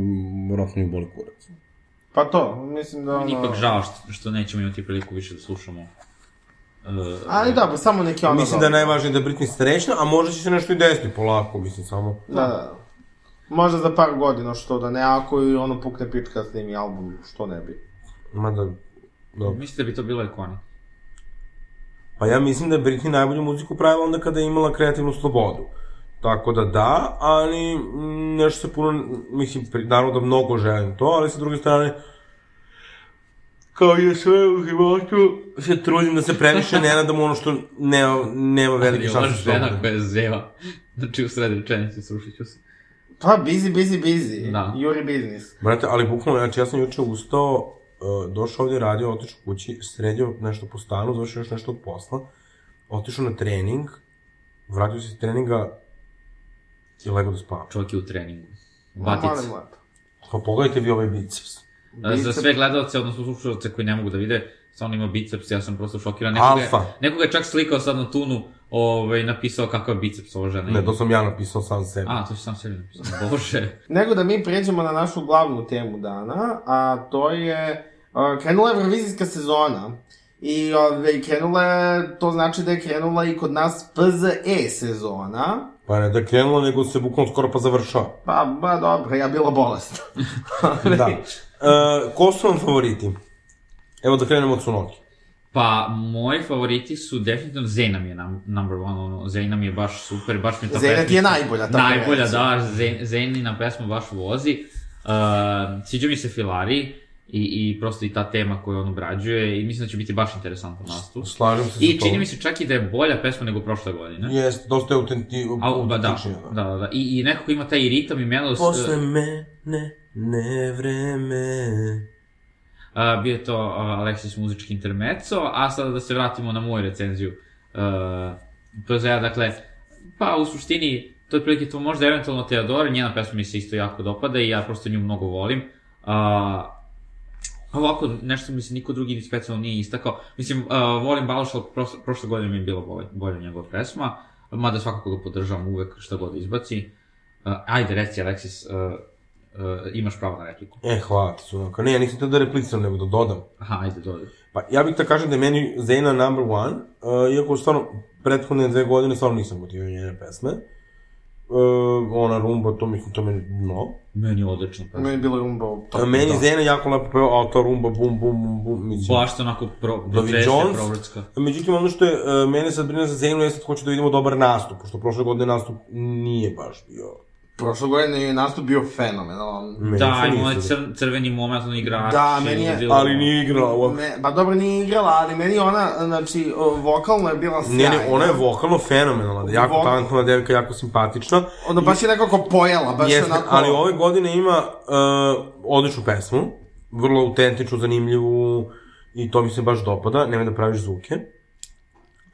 Speaker 6: vjerojatno mi boli kurac.
Speaker 3: Pa to, mislim da
Speaker 5: Meni je
Speaker 3: ono...
Speaker 5: ipak žao što, što nećemo imati priliku više da slušamo. Uh,
Speaker 3: Ali da, pa samo neki ono...
Speaker 4: Mislim da je najvažnije da je Britney srećna, a možda će se nešto i desiti polako, mislim samo.
Speaker 3: Da, da. Možda za par godina, što da ne, ako i ono pukne pička snimi album, što ne bi.
Speaker 4: Mada, dobro.
Speaker 5: Mislim da bi to bilo ikoni.
Speaker 4: Pa ja mislim da je Britney najbolju muziku pravila onda kada je imala kreativnu slobodu. Tako da da, ali mm, nešto se puno, mislim, pri- naravno da mnogo želim to, ali sa druge strane, kao i sve u životu, se trudim da se previše ne nadam ono što ne, nema velike
Speaker 5: Ali ova
Speaker 4: šanse što
Speaker 5: žena
Speaker 4: bude.
Speaker 5: koja zeva. Znači u sred rečenice srušit ću se.
Speaker 3: Pa, busy, busy, busy.
Speaker 5: Da.
Speaker 3: Juri biznis.
Speaker 4: Brate, ali bukvalno, znači ja sam juče ustao, e, došao ovdje, radio, otišao kući, sredio nešto po stanu, završio još nešto od posla, otišao na trening, vratio se iz treninga i legao da spavam.
Speaker 5: Čovjek je u treningu.
Speaker 3: Molim
Speaker 5: Batica.
Speaker 3: lepo.
Speaker 4: Pa pogledajte vi ovaj biceps.
Speaker 5: A, Za
Speaker 3: Biceps.
Speaker 5: sve gledalce, odnosno slušalce koji ne mogu da vide, stvarno ima biceps, ja sam prosto šokiran.
Speaker 4: Alfa.
Speaker 5: Je, nekoga je čak slikao sad na tunu, ovaj, napisao kakav je biceps ova žena.
Speaker 4: Ne,
Speaker 5: ima.
Speaker 4: to sam ja napisao sam sebi.
Speaker 5: A, to si sam sebi napisao. Bože.
Speaker 3: Nego da mi pređemo na našu glavnu temu dana, a to je... a, Krenula je revizijska sezona. I ove, krenula je, to znači da je krenula i kod nas PZE sezona.
Speaker 4: Pa ne da je krenulo, nego se bukvalno skoro pa
Speaker 5: (laughs)
Speaker 4: završava.
Speaker 3: Pa, ba, dobro, ja bila bolest.
Speaker 4: Da. E, ko su vam favoriti? Evo da krenemo od Sunoki.
Speaker 5: Pa, moji favoriti su definitivno Zena mi je nam, number one, ono, Zena mi je baš super, baš mi je ta
Speaker 3: Zena ti je
Speaker 5: pesmica-
Speaker 3: najbolja, tako
Speaker 5: Najbolja,
Speaker 3: reći.
Speaker 5: da, Zen- Zenina pesma baš vozi. Uh, sviđa mi se Filari i, i prosto i ta tema koju on obrađuje i mislim da će biti baš interesantno nastup.
Speaker 4: Slažem se
Speaker 5: I čini mi se čak i da je bolja pesma nego prošle godine.
Speaker 4: Jeste, dosta je autenti...
Speaker 5: Au, ba, da,
Speaker 4: autentičnija,
Speaker 5: da, da, da. I, i nekako ima taj ritam i melos.
Speaker 4: Posle mene, ne vreme.
Speaker 5: A, bio je to a, Alexis muzički intermezzo, a sada da se vratimo na moju recenziju uh, PZA, dakle, pa u suštini, to je prilike to možda eventualno Teodora, njena pesma mi se isto jako dopada i ja prosto nju mnogo volim. A, ovako, nešto mi se niko drugi ni specijalno nije istakao. Mislim, a, volim Baloš, ali prošle, prošle godine mi je bilo bolje, bolje njegova pesma, mada svakako ga podržavam uvek šta god izbaci. A, ajde, reci Alexis, a, a, imaš pravo na repliku.
Speaker 4: E, hvala ti, Sunoka. Ne, ja nisam teo da repliciram, nego da dodam.
Speaker 5: Aha, ajde, dobro.
Speaker 4: Pa ja bih da kažem da je meni да Zena number one, uh, iako stvarno prethodne dve godine stvarno nisam gotivio njene pesme. Uh, ona rumba, to mislim, to meni dno.
Speaker 5: Meni je odlična pesma.
Speaker 3: Meni je bilo rumba u
Speaker 4: A meni da. Zena jako lepo peva, a to rumba, bum, bum, bum, bum, mislim.
Speaker 5: Baš to onako pro,
Speaker 4: Dovi
Speaker 5: dotrese,
Speaker 4: Jones.
Speaker 5: provrtska.
Speaker 4: Međutim, ono što je, uh, mene sad brine za Zenu, je sad hoću da vidimo dobar nastup, pošto prošle godine nastup nije baš bio...
Speaker 3: Prošle godine je nastup bio fenomenalan.
Speaker 4: Meni
Speaker 5: Da,
Speaker 4: se
Speaker 5: imao
Speaker 4: nije
Speaker 5: je
Speaker 4: sviđa.
Speaker 5: cr, crveni moment, on igrač.
Speaker 3: Da, meni je-
Speaker 4: Ali nije igrala ovo.
Speaker 3: Me, pa dobro, nije igrala, ali meni ona, znači, o, vokalno je bila sjajna.
Speaker 4: Ne, ne, ona je vokalno fenomenalna, jako
Speaker 3: Vokal-
Speaker 4: talentovna devika, jako simpatična.
Speaker 3: Ono baš je nekako pojela, baš
Speaker 4: Jeste,
Speaker 3: Jeste, onako...
Speaker 4: ali ovaj ove godine ima uh, odličnu pesmu, vrlo autentičnu, zanimljivu i to mi se baš dopada, nemoj da praviš zvuke.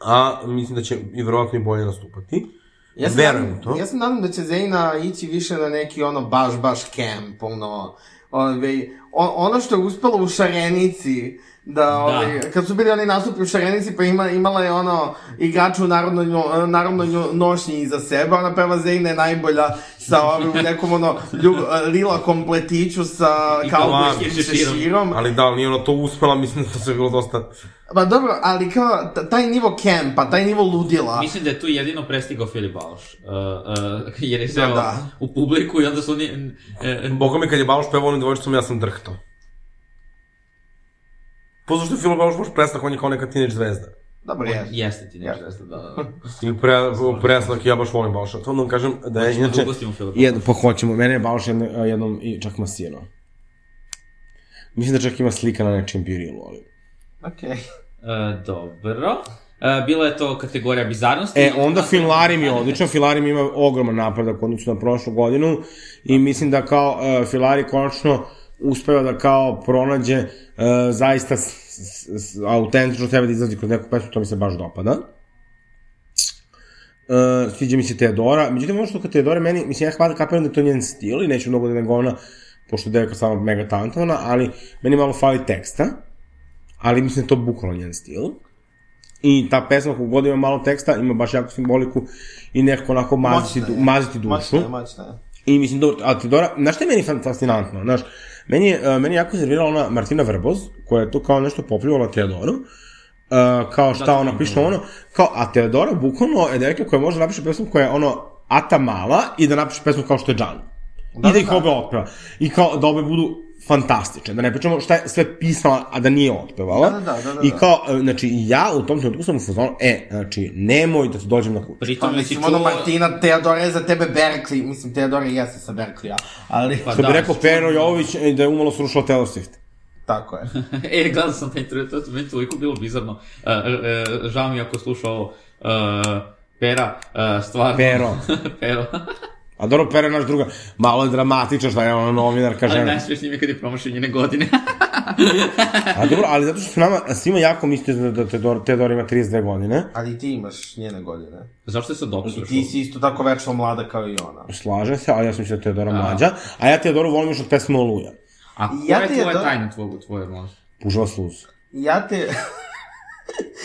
Speaker 4: A mislim da će i verovatno i bolje nastupati.
Speaker 3: Ja se
Speaker 4: verujem
Speaker 3: nadam-
Speaker 4: u to.
Speaker 3: Ja se nadam da će Zejna ići više na neki ono ovaj, baš, baš camp, ono... Ove, o, ono što je uspelo u Šarenici, Da, ovaj, kad su bili oni nastupi u Šarenici, pa ima, imala je ono igrača u narodnoj, njo- narodnoj njo- nošnji iza sebe, ona peva Zejna je najbolja sa ovim u nekom ono ljub, lila kompletiću sa kaubojskim
Speaker 5: šeširom.
Speaker 3: šeširom.
Speaker 7: Ali da, ali nije ona to uspela, mislim da to sve bilo dosta...
Speaker 3: Pa dobro, ali kao t- taj nivo kempa, taj nivo ludila.
Speaker 5: Mislim da je tu jedino prestigao Filip Baloš, uh, uh, (laughs) jer je seo
Speaker 3: da.
Speaker 5: u publiku i onda su oni... n- e,
Speaker 7: Boga mi kad je Baloš pevao onim dvojčicom, ja sam drhtao. Pozor što je Filo Baloš baš presnak, on je kao neka teenage zvezda.
Speaker 3: Dobro, je.
Speaker 5: Jeste ti nešto, jeste, da, da.
Speaker 7: I pre, presnak, ja baš volim Baloša. To onda vam kažem da je,
Speaker 5: Znači,
Speaker 7: inače,
Speaker 5: ugostimo Filipa.
Speaker 4: Jedno, pa hoćemo. Mene je Baloš jedno, jednom i čak masirao. Mislim da čak ima slika na nečijem pirilu, ali...
Speaker 3: Okej.
Speaker 5: E, dobro. E, bila je to kategorija bizarnosti.
Speaker 4: E, onda Filarim je odličan, Filarim ima ogroman napredak u odnosu na prošlu godinu i mislim da kao uh, Filari konačno uspeva da kao pronađe uh, zaista s, s, s, autentično sebe da izlazi kroz neku pesmu, to mi se baš dopada. Uh, sviđa mi se Teodora, međutim ono što kod Teodora meni, mislim ja hvata kapiram da je to njen stil i neću mnogo da ne govna, pošto je devojka samo mega talentovana, ali meni malo fali teksta, ali mislim da je to bukvalno njen stil. I ta pesma kog god ima malo teksta, ima baš jako simboliku i nekako onako maziti,
Speaker 3: Moćna
Speaker 4: du,
Speaker 3: je.
Speaker 4: maziti dušu.
Speaker 3: Moćno je, moćno je.
Speaker 4: I mislim, dobro, a Teodora, znaš šta je meni fan- fascinantno, znaš, meni je, e, meni je jako servirala ona Martina Vrboz, koja je tu kao nešto popljivala Teodoru, Uh, kao šta da, ona piše ono, kao, a Teodora bukvalno je devika koja može da napiše pesmu koja je ono ata mala i da napiše pesmu kao što je Džan. Da, I da ih obe otpeva. I kao da obe budu fantastične. Da ne pričamo šta je sve pisala, a da nije otpevala.
Speaker 3: Da, da, da, da,
Speaker 4: I
Speaker 3: da.
Speaker 4: kao, e, znači, ja u tom trenutku sam u fazonu, e, znači, nemoj da ti dođem na kuću.
Speaker 5: Pritom
Speaker 3: Pa
Speaker 5: je
Speaker 3: mislim,
Speaker 5: si
Speaker 3: ono
Speaker 5: čuo-
Speaker 3: Martina, Teodora je za tebe Berkeley, mislim, Teodora i jeste sa Berkeleya, ali...
Speaker 5: Pa
Speaker 4: Što bi
Speaker 5: da,
Speaker 4: rekao Pero Jovović e, da je umalo srušila Taylor Swift.
Speaker 3: Tako (laughs) je.
Speaker 5: (laughs) E, gledao sam taj intervju, to je meni toliko bilo bizarno. E, e, žao mi je ako sluša ovo e, Pera, e, stvarno.
Speaker 4: Pero.
Speaker 5: (laughs) Pero.
Speaker 4: A dobro, Pera je naš druga. Malo je dramatična šta je ona novinarka
Speaker 5: Ali
Speaker 4: žena.
Speaker 5: najsmješnije mi je kad je promašio njene godine.
Speaker 4: A dobro, ali zato što su nama svima jako mislili da Teodor, Teodor ima 32 godine.
Speaker 3: Ali i ti imaš njene godine.
Speaker 5: (laughs) Zašto se
Speaker 3: I
Speaker 5: dopsuš?
Speaker 3: ti si isto tako večno mlada kao i ona.
Speaker 4: Slažem se, ali ja sam mislio da je Teodora mlađa. A ja Teodoru volim još od pesme Oluja.
Speaker 5: A koja
Speaker 3: Ja
Speaker 5: je
Speaker 3: ti je
Speaker 5: tvoja
Speaker 3: do-
Speaker 5: tajna tvog, tvoje možda?
Speaker 4: Pužava sluz.
Speaker 3: Ja te...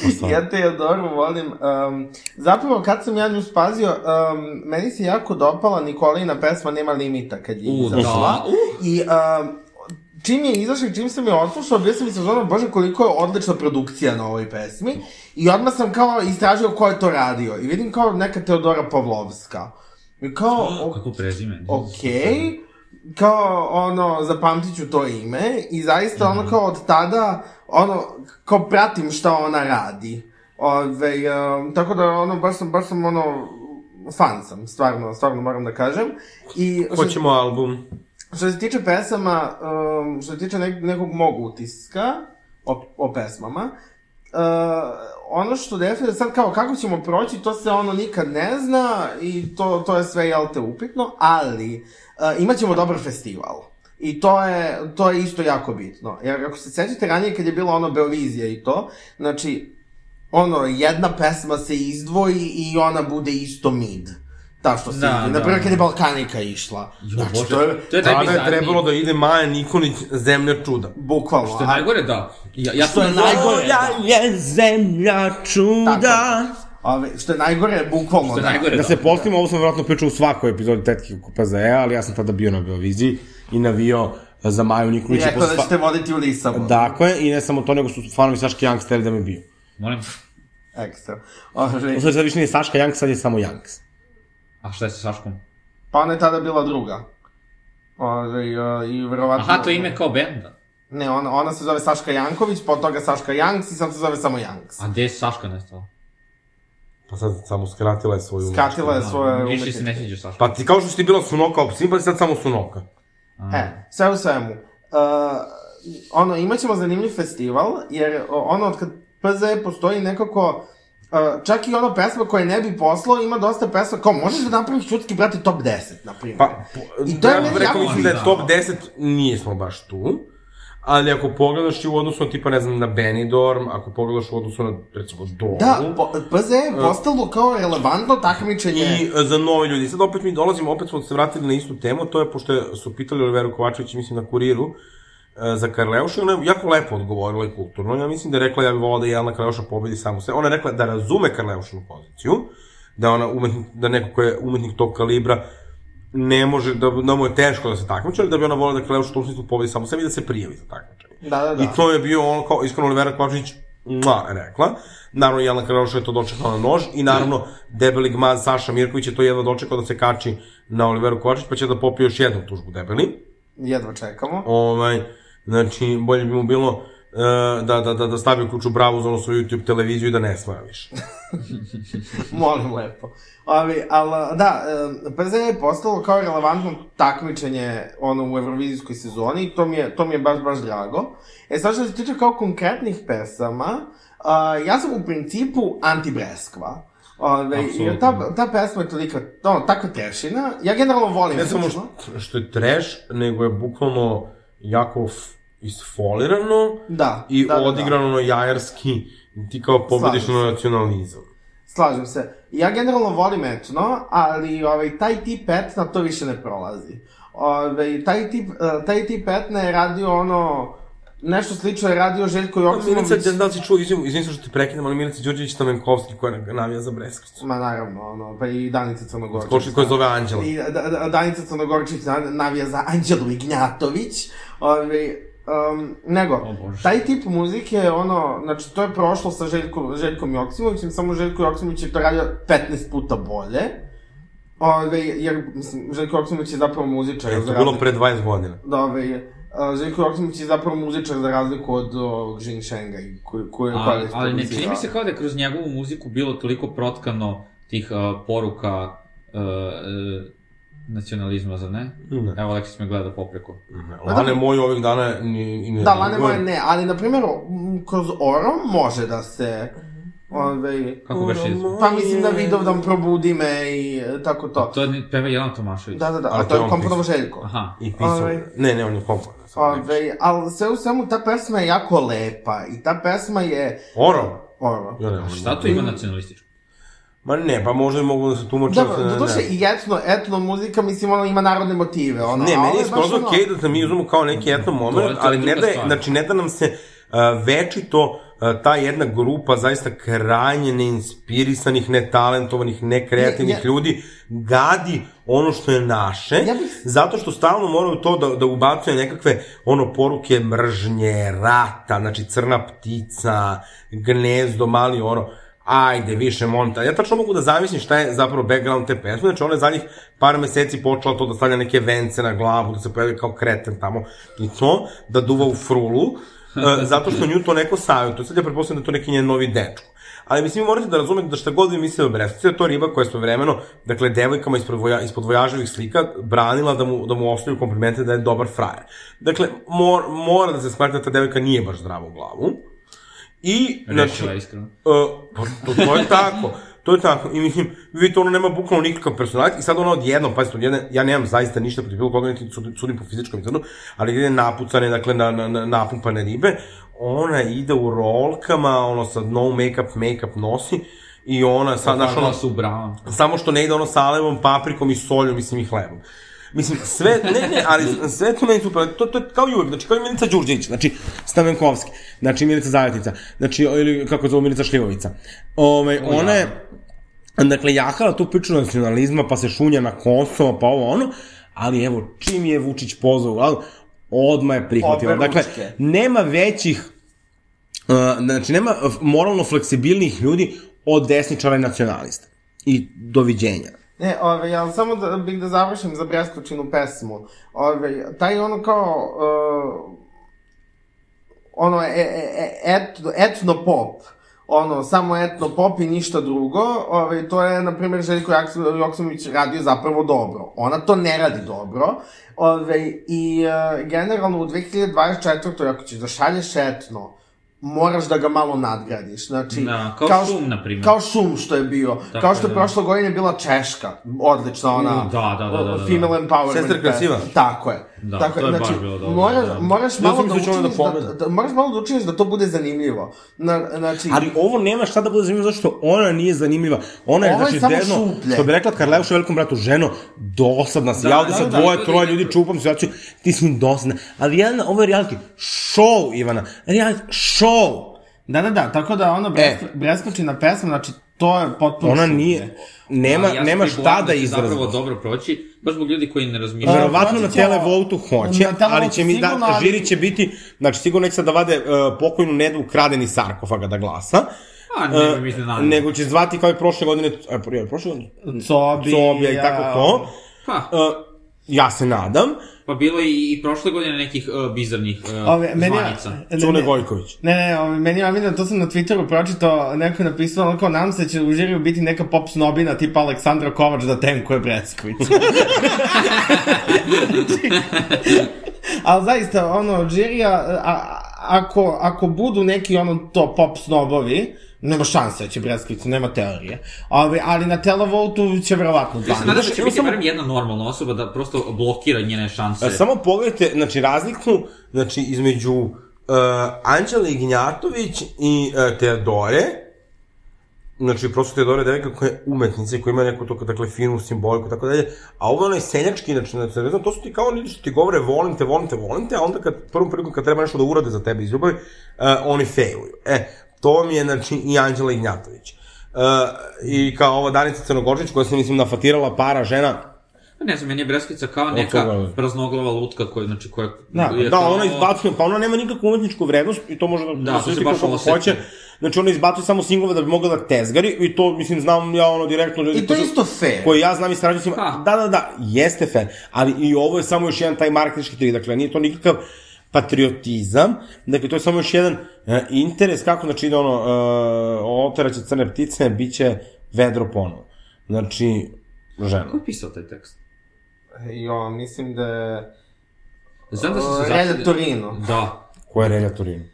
Speaker 5: Pa
Speaker 4: Ostalo.
Speaker 3: ja Teodoru volim. Um, zapravo, kad sam ja nju spazio, um, meni se jako dopala Nikolina pesma Nema limita kad je
Speaker 5: U,
Speaker 3: izašla.
Speaker 5: da. U,
Speaker 3: I um, čim je izašla i čim sam je odslušao, bio sam i sa zonom, bože koliko je odlična produkcija na ovoj pesmi. I odmah sam kao istražio ko je to radio. I vidim kao neka Teodora Pavlovska. I kao, ok,
Speaker 5: kako prezime.
Speaker 3: okej, kao ono, zapamtit ću to ime i zaista ono kao od tada, ono, kao pratim šta ona radi. Ove, em, tako da ono, baš sam, baš sam ono, fan sam, stvarno, stvarno moram da kažem. I što,
Speaker 7: hoćemo album.
Speaker 3: što se tiče pesama, em, što se tiče nek, nekog mog utiska o, o pesmama, e, ono što definitivno sad kao kako ćemo proći, to se ono nikad ne zna i to, to je sve jel te upitno, ali uh, imat ćemo dobar festival. I to je, to je isto jako bitno. Jer ako se sećate ranije kad je bilo ono Beovizija i to, znači ono, jedna pesma se izdvoji i ona bude isto mid. Ta što se
Speaker 5: Da,
Speaker 3: da,
Speaker 5: da.
Speaker 3: Na primjer kad je Balkanika išla. znači,
Speaker 5: Bože,
Speaker 3: to je
Speaker 5: to je
Speaker 7: Tada je
Speaker 5: najbizarniji.
Speaker 7: trebalo da ide Maja Nikonić, Zemlja čuda.
Speaker 3: bukvalno.
Speaker 5: Što je najgore, da. Ja, ja
Speaker 3: Što je
Speaker 5: sam-
Speaker 3: najgore,
Speaker 1: Bolja je zemlja čuda.
Speaker 3: Ove, što je najgore, bukvalno.
Speaker 5: Što je
Speaker 3: da.
Speaker 5: najgore,
Speaker 4: Da
Speaker 5: da.
Speaker 4: se postimo, ovo sam vjerojatno pričao u svakoj epizodi Tetke KPZ-a, ali ja sam tada bio na Beoviziji i navio za Maju
Speaker 3: I
Speaker 4: Nikolić. i
Speaker 3: rekao
Speaker 4: posle
Speaker 3: da ćete voditi u
Speaker 5: Da.
Speaker 3: Lisabon.
Speaker 4: Dakle, i ne samo to, nego su fanovi Saške Young steli da me biju.
Speaker 5: Molim.
Speaker 3: Ekstra. Ove,
Speaker 4: U stvari sad više nije Saška Young, sad je samo Youngs.
Speaker 5: A šta je sa Saškom?
Speaker 3: pa ona je tada bila druga. Ove, i, i verovatno...
Speaker 5: Aha, to je ime kao benda.
Speaker 3: Ne, ona, ona se zove Saška Janković, po toga Saška Janks i sad se zove samo Janks.
Speaker 5: A gde je Saška nestala?
Speaker 7: Pa sad samo skratila je svoju...
Speaker 3: Skratila je Da, svoje
Speaker 5: Više se ne
Speaker 3: umetničke.
Speaker 5: sviđa Saška.
Speaker 7: Pa ti kao što si ti bila sunoka opcija, pa si sad samo sunoka.
Speaker 3: E, sve u svemu. Uh, ono, imat ćemo zanimljiv festival, jer o, ono, od kad PZ postoji nekako... Uh, čak i ono pesma koje ne bi poslao, ima dosta pesma, kao možeš da napraviš čutski, brate, top 10, na primjer.
Speaker 7: Pa,
Speaker 3: I to je
Speaker 7: ja bih
Speaker 3: meni
Speaker 7: rekao,
Speaker 3: jako
Speaker 7: mislim da je
Speaker 5: bitno.
Speaker 7: top 10, nismo baš tu. Ali ako pogledaš i u odnosu na tipa, ne znam, na Benidorm, ako pogledaš u odnosu na, recimo, Dolu.
Speaker 3: Da, po, PZ je
Speaker 4: E.
Speaker 3: postalo kao relevantno takmičenje.
Speaker 7: I e, za nove ljudi. Sad opet mi dolazimo, opet smo se vratili na istu temu, to je pošto je- su pitali Oliveru Kovačević, mislim, na kuriru,
Speaker 4: e, za Karleušu i ona je jako lepo odgovorila i kulturno. Ja mislim da je rekla ja bih volao da Jelena Karleuša pobedi samu se. Ona je rekla da razume Karleušinu poziciju, da, ona umetnik, da neko ko je umetnik tog kalibra ne može, da, da mu je teško da se takmiče, ali da bi ona volila da Karleuša u tom smislu pobedi samu sebi i da se prijavi za takmičenje.
Speaker 3: Da, da, da.
Speaker 4: I to je bio ono kao, iskreno Olivera Kovačić mla, rekla. Naravno, Jelena Karloša je to dočekala na nož i naravno, debeli gmaz Saša Mirković je to jedva dočekao da se kači na Oliveru Kovačić, pa će da popije još jednu tužbu debeli.
Speaker 3: Jedva čekamo.
Speaker 4: Ovaj, znači, bolje bi mu bilo e, da, da, da, da stavi kuću bravu za onu svoju YouTube televiziju i da ne smaja više.
Speaker 3: Molim lepo. Ali, ali da, e, PZ je postalo kao relevantno takmičenje ono, u evrovizijskoj sezoni i to mi je, to mi je baš, baš drago. E sad što se tiče kao konkretnih pesama, a, ja sam u principu anti-breskva. Ove, jer ta, ta pesma je tolika, ono, takva tešina. Ja generalno volim.
Speaker 4: Ne samo
Speaker 3: muziku.
Speaker 4: što, što je trash, nego je bukvalno jako f- isfolirano
Speaker 3: Da,
Speaker 4: i
Speaker 3: da, da, da.
Speaker 4: odigrano na jajarski, ti kao pobediš
Speaker 3: Slažem
Speaker 4: na
Speaker 3: se.
Speaker 4: nacionalizam.
Speaker 3: Slažem se. Ja generalno volim etno, ali ovaj, taj tip etna to više ne prolazi. Ovaj, taj, tip, eh, taj tip etna je radio ono... Nešto slično je radio Željko Joksimović.
Speaker 4: Milica, ne znam da li si čuo, izvim, izvim se što te prekidam, ali Milica Đurđević Stamenkovski koja navija za Breskovicu.
Speaker 3: Ma naravno, ono, pa i Danica Crnogorčić.
Speaker 4: Košli koja zove Anđela.
Speaker 3: I da, da, Danica Crnogorčić na- navija za Anđelu Ignjatović. Ove, um, nego,
Speaker 5: Bože.
Speaker 3: taj tip muzike je ono, znači to je prošlo sa Željko, Željkom Joksimovićem, samo Željko Joksimović je to radio 15 puta bolje. Ove, jer, mislim, Željko Joksimović je zapravo muzičar.
Speaker 4: Je
Speaker 3: za
Speaker 4: to bilo
Speaker 3: razliku-
Speaker 4: pre 20 godina.
Speaker 3: Da, ove, a, Željko Joksimović je zapravo muzičar za razliku od o, Jin Shenga, i koji, koji je
Speaker 5: Ali, ali ne čini mi se kao da je kroz njegovu muziku bilo toliko protkano tih uh, poruka uh, uh, nacionalizma, za ne?
Speaker 4: Ne.
Speaker 5: Evo, Aleksis me gleda popreko.
Speaker 4: Da. Lane moj ovih dana ni, i ne
Speaker 3: Da, Lane
Speaker 4: reaguje.
Speaker 3: Moje ne, ali, na primjer, m, kroz Orom može da se... Ove,
Speaker 5: Kako baš je?
Speaker 3: Pa mislim da Vidovdan probudi me i e, tako to.
Speaker 5: To je peva Jelan Tomašević.
Speaker 3: Da, da, da,
Speaker 4: Ali
Speaker 3: a
Speaker 4: to
Speaker 3: to
Speaker 4: je
Speaker 3: je
Speaker 4: on
Speaker 3: komponovo
Speaker 4: pisao.
Speaker 3: Željko.
Speaker 5: Aha.
Speaker 4: I pisao.
Speaker 3: Ovaj. Pa,
Speaker 4: Ne, ne, on je kompa.
Speaker 3: Ove, ali sve u svemu, ta pesma je jako lepa i ta pesma je...
Speaker 4: Oro?
Speaker 3: Ono,
Speaker 4: Ja ne, volim.
Speaker 5: Šta tu ima nacionalističko?
Speaker 4: Ma ne, pa možda i mogu da se tumače.
Speaker 3: Dobro,
Speaker 4: se,
Speaker 3: doduše i etno, etno muzika, mislim, ono ima narodne motive, ono.
Speaker 4: Ne,
Speaker 3: a
Speaker 4: meni
Speaker 3: ovo
Speaker 4: je
Speaker 3: baš
Speaker 4: skroz okej da da mi uzmemo kao neki etno
Speaker 5: To je-
Speaker 4: moment,
Speaker 5: to je
Speaker 4: ali ne
Speaker 5: druga
Speaker 4: da, je,
Speaker 5: stvar.
Speaker 4: znači, ne da nam se uh, večito uh, ta jedna grupa zaista krajnje neinspirisanih, netalentovanih, nekreativnih
Speaker 3: Ja- ja-
Speaker 4: ljudi gadi ono što je naše,
Speaker 3: Ja bih-
Speaker 4: zato što stalno moraju to da, da ubacuje nekakve ono poruke mržnje, rata, znači crna ptica, gnezdo, mali ono, ajde, više monta. Ja tačno mogu da zamislim šta je zapravo background te pesme, znači ona je zadnjih par meseci počela to da stavlja neke vence na glavu, da se pojavi kao kreten tamo i to, da duva u frulu, e, zato što nju to neko savjetuje. Sad ja pretpostavljam da je to neki njen novi dečko. Ali mislim, vi morate da razumete da šta god vi mislite o Brestovicu, to je riba koja je svojevremeno, dakle, devojkama ispod, voja, ispod vojaževih slika branila da mu, da mu ostaju komplimente da je dobar frajer. Dakle, mor, mora da se smatra da ta devojka nije baš zdrava u glavu. I,
Speaker 5: Rešila,
Speaker 4: znači,
Speaker 5: iskreno.
Speaker 4: Uh, pa to, to je tako. To je tako. I mislim, vidite, ono nema bukvalno nikakav personalitet. I sad ono odjednom, pazite, odjednom, ja nemam zaista ništa protiv bilo koga, niti sudim, sudim po fizičkom izgledu, ali gde je napucane, dakle, na, na, na, napumpane ribe, ona ide u rolkama, ono, sa no make-up, make-up nosi, i ona sad, znaš, ono,
Speaker 5: Hvala su Brown.
Speaker 4: samo što ne ide ono sa alevom, paprikom i solju, mislim, i hlebom. Mislim, sve, ne, ne, ali sve to meni super, to, to je kao i uvek, znači, kao i Milica Đurđević, znači, Stamenkovski,
Speaker 8: Znači, Milica Zavetica. Znači, ili kako zove Milica Šljivovica. Ove, ona je, dakle, jahala tu priču nacionalizma, pa se šunja na Kosovo, pa ovo ono, ali evo, čim je Vučić pozvao u vladu, odma je prihvatila.
Speaker 3: Obe
Speaker 8: Dakle,
Speaker 3: ručke.
Speaker 8: nema većih, uh, znači, nema uh, moralno fleksibilnih ljudi od desničara i nacionalista. I doviđenja.
Speaker 3: Ne, ove, ja E, samo da, bih da završim za Brestočinu pesmu. Ove, taj ono kao... Uh, ono, e, e, e- et, etno pop. Ono, samo etno pop i ništa drugo. Ove, to je, na primjer, Željko Jaks- Joksimović radio zapravo dobro. Ona to ne radi dobro. Ove, I e, generalno u 2024. ako ćeš da šalješ etno, moraš da ga malo nadgradiš. Znači,
Speaker 5: Da, kao
Speaker 3: što-
Speaker 5: Šum, na primjer.
Speaker 3: Kao šum što je bio.
Speaker 5: Tako
Speaker 3: kao što je
Speaker 5: je, da.
Speaker 3: prošle godine bila Češka. Odlična ona.
Speaker 5: Mm, da, da, da, da, da, da.
Speaker 3: Female empowerment.
Speaker 4: Sestre Krasiva.
Speaker 3: pesma. Tako je. Znači,
Speaker 5: Da, to je baš bilo dobro,
Speaker 3: Moraš,
Speaker 5: da.
Speaker 3: moraš,
Speaker 4: Ja
Speaker 3: malo
Speaker 4: sam
Speaker 3: da
Speaker 4: mislio da će ona
Speaker 3: učiniš,
Speaker 4: da
Speaker 3: da, da,
Speaker 4: pobedi.
Speaker 3: moraš malo da učiniš da to bude zanimljivo. Na, znači,
Speaker 4: Ali ovo nema šta da bude zanimljivo, zašto ona nije zanimljiva. Ona je,
Speaker 3: Ovo je
Speaker 4: znači,
Speaker 3: samo
Speaker 4: derno,
Speaker 3: šuplje.
Speaker 4: što bi rekla Karleuša velikom bratu, ženo, dosadna si.
Speaker 5: Da,
Speaker 4: ja ovde
Speaker 5: da,
Speaker 4: sa
Speaker 5: da,
Speaker 4: dvoje,
Speaker 5: da,
Speaker 4: troje
Speaker 5: da,
Speaker 4: ljudi
Speaker 5: da.
Speaker 4: čupam situaciju, ti si mi dosadna. Ali jedna, ovo je reality show, Ivana. Reality show.
Speaker 3: Da, da, da, tako da ono
Speaker 4: E.
Speaker 3: bres- breskočina pesma, znači to je potpuno...
Speaker 4: Ona
Speaker 3: šuplje.
Speaker 4: nije, nema,
Speaker 5: Ali ja sam
Speaker 4: nema šta
Speaker 5: prigulavio
Speaker 4: da
Speaker 5: će
Speaker 4: izrazi.
Speaker 5: Zapravo dobro proći, baš zbog ljudi koji ne
Speaker 4: I
Speaker 5: razmišljaju.
Speaker 4: verovatno na
Speaker 3: proći će-
Speaker 4: televotu hoće,
Speaker 3: na televotu
Speaker 4: ali će mi
Speaker 3: sigurno,
Speaker 4: da,
Speaker 3: ali-
Speaker 4: žiri će biti, znači sigurno neće sad da vade uh, pokojnu nedu ukradeni sarkofaga da glasa,
Speaker 5: A,
Speaker 4: E,
Speaker 5: Pa, ne, mislim, naravno.
Speaker 4: nego će zvati kao i prošle godine, e, prije, prošle godine,
Speaker 3: Cobi,
Speaker 4: Sobija i tako to.
Speaker 5: Pa,
Speaker 4: Uh, ja se nadam,
Speaker 5: pa bilo je i, i prošle godine nekih uh, bizarnih uh,
Speaker 3: Ove, meni,
Speaker 5: zvanica.
Speaker 3: ne,
Speaker 4: Cune
Speaker 3: ne,
Speaker 4: Gojković.
Speaker 3: ne, ne, ove, meni ja vidim, to sam na Twitteru pročitao, neko je napisao, ono kao nam se će u žiriju biti neka pop snobina tipa Aleksandra Kovač da tenkuje Bresković. (laughs) Ali zaista, ono, žirija, a- a, ako, ako budu neki, ono, to pop snobovi, nema šanse da će Bresković, nema teorije. Ove, ali na televotu će verovatno 12.
Speaker 5: Nadam se da će
Speaker 4: Samo-
Speaker 5: biti barem jedna normalna osoba da prosto blokira njene šanse.
Speaker 4: E, Samo pogledajte, znači, razliku znači, između uh,
Speaker 7: Anđele e, Ignjatović i e, Teodore, znači prosto Teodore je devojka koja je umetnica i koja ima neku to, dakle, finu simboliku i tako dalje, a ovo je onaj senjački, znači, znači, znači, to su ti kao ljudi što ti govore volim te, volim te, volim te, a onda kad, prvom prilikom kad treba nešto da urade za tebe iz ljubavi, e, oni failuju. E, to mi je, znači, i Anđela Ignjatović. E, I kao ova Danica Crnogorčić koja se, mislim, nafatirala para žena,
Speaker 5: Pa Ne znam, meni je Breskica kao
Speaker 4: toga
Speaker 5: neka
Speaker 4: je.
Speaker 5: praznoglava lutka koja, znači, koja...
Speaker 3: Da,
Speaker 5: je
Speaker 4: Da,
Speaker 5: kao-
Speaker 4: ona izbacuje, pa ona nema nikakvu umetničku vrednost i to može da,
Speaker 5: to se baš
Speaker 4: kako
Speaker 5: oseti.
Speaker 4: hoće. Znači ona izbacuje samo singlove da bi mogla da tezgari i to mislim znam ja ono direktno ljudi
Speaker 3: I to je
Speaker 4: koji su-
Speaker 3: isto fair.
Speaker 4: koje ja znam i sarađujem s njima.
Speaker 5: Ha.
Speaker 4: Da, da, da, jeste fair, ali i ovo je samo još jedan taj marketički trik, dakle nije to nikakav patriotizam, dakle to je samo još jedan e, interes kako znači ide ono e, oteraće crne ptice, bit će vedro ponovo. Znači, žena.
Speaker 5: Ko je pisao taj tekst?
Speaker 3: Jo, mislim da je...
Speaker 5: Znam da sam se
Speaker 3: Relja
Speaker 5: začudio-
Speaker 3: Torino.
Speaker 5: Da.
Speaker 4: Koja je Relja Torino?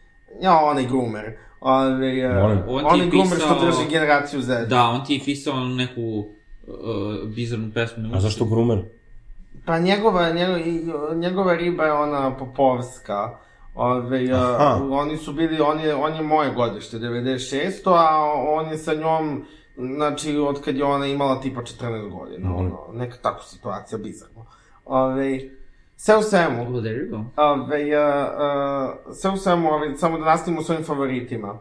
Speaker 3: Ja, onaj groomer. Ove,
Speaker 4: Molim.
Speaker 3: uh,
Speaker 5: On ti
Speaker 3: onaj
Speaker 5: je
Speaker 3: groomer
Speaker 5: pisao-
Speaker 3: što drži generaciju Z.
Speaker 5: Da, on ti je pisao neku uh, bizarnu pesmu. ne mogu
Speaker 4: A zašto Grumer?
Speaker 3: Pa njegova, njegova, njegova riba je ona Popovska. Ove,
Speaker 4: Aha.
Speaker 3: uh, oni su bili, on je, on je moje godište, 96. A on je sa njom, znači, od kad je ona imala tipa 14 godina.
Speaker 4: Molim.
Speaker 3: Ono, neka takva situacija, bizarno. Ove, sve u svemu,
Speaker 5: Oh, there you go.
Speaker 3: Ove, uh, uh, sve u svemu, ove, samo da nastavimo s ovim favoritima. Uh,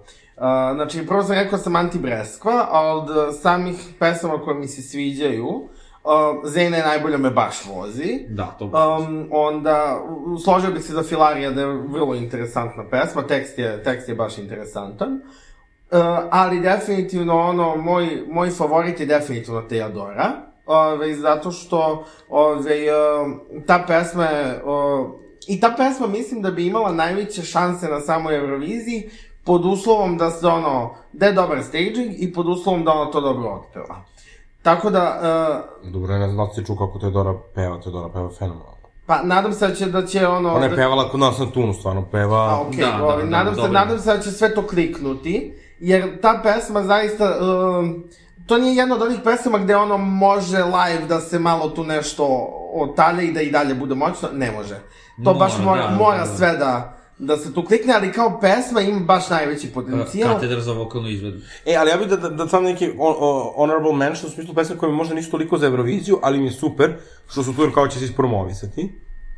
Speaker 3: znači, prvo sam rekao sam anti-breskva, a od uh, samih pesama koje mi se sviđaju, uh, Zena je najbolja me baš vozi.
Speaker 5: Da, to
Speaker 3: Um, onda, u- složio bih se za Filarija da je vrlo interesantna pesma, tekst je, tekst je baš interesantan. Uh, ali definitivno ono, moj, moj favorit je definitivno Teodora. Ove, zato što ove, uh, ta pesma je, uh, i ta pesma mislim da bi imala najveće šanse na samoj Euroviziji pod uslovom da se ono, da je dobar staging i pod uslovom da ona to dobro otpeva. Tako da, uh,
Speaker 7: Dobro, ne znam da li si čuo kako Teodora peva, Teodora peva fenomenalno.
Speaker 3: pa nadam se da će, da će ono...
Speaker 7: Ona
Speaker 3: da-
Speaker 7: je pevala kod nas na Tunu, stvarno peva...
Speaker 3: A, okej,
Speaker 5: Da, da,
Speaker 3: ovaj,
Speaker 5: da,
Speaker 3: nadam, se,
Speaker 5: dobro.
Speaker 3: nadam se da će sve to kliknuti, jer ta pesma zaista... Um, to nije jedna od onih pesama gde ono može live da se malo tu nešto otalje i da i dalje bude moćno. Ne može. To
Speaker 5: Mora,
Speaker 3: baš mora,
Speaker 5: da, da,
Speaker 3: mora
Speaker 5: da.
Speaker 3: sve da, da se tu klikne, ali kao pesma ima baš najveći potencijal.
Speaker 5: Katedra za vokalnu izvedbu.
Speaker 7: E, ali ja bih da, da, da sam neki on, o, honorable mention u smislu pesme koje mi možda nisu toliko za Euroviziju, ali mi je super, što su tu jer kao će se ispromovisati.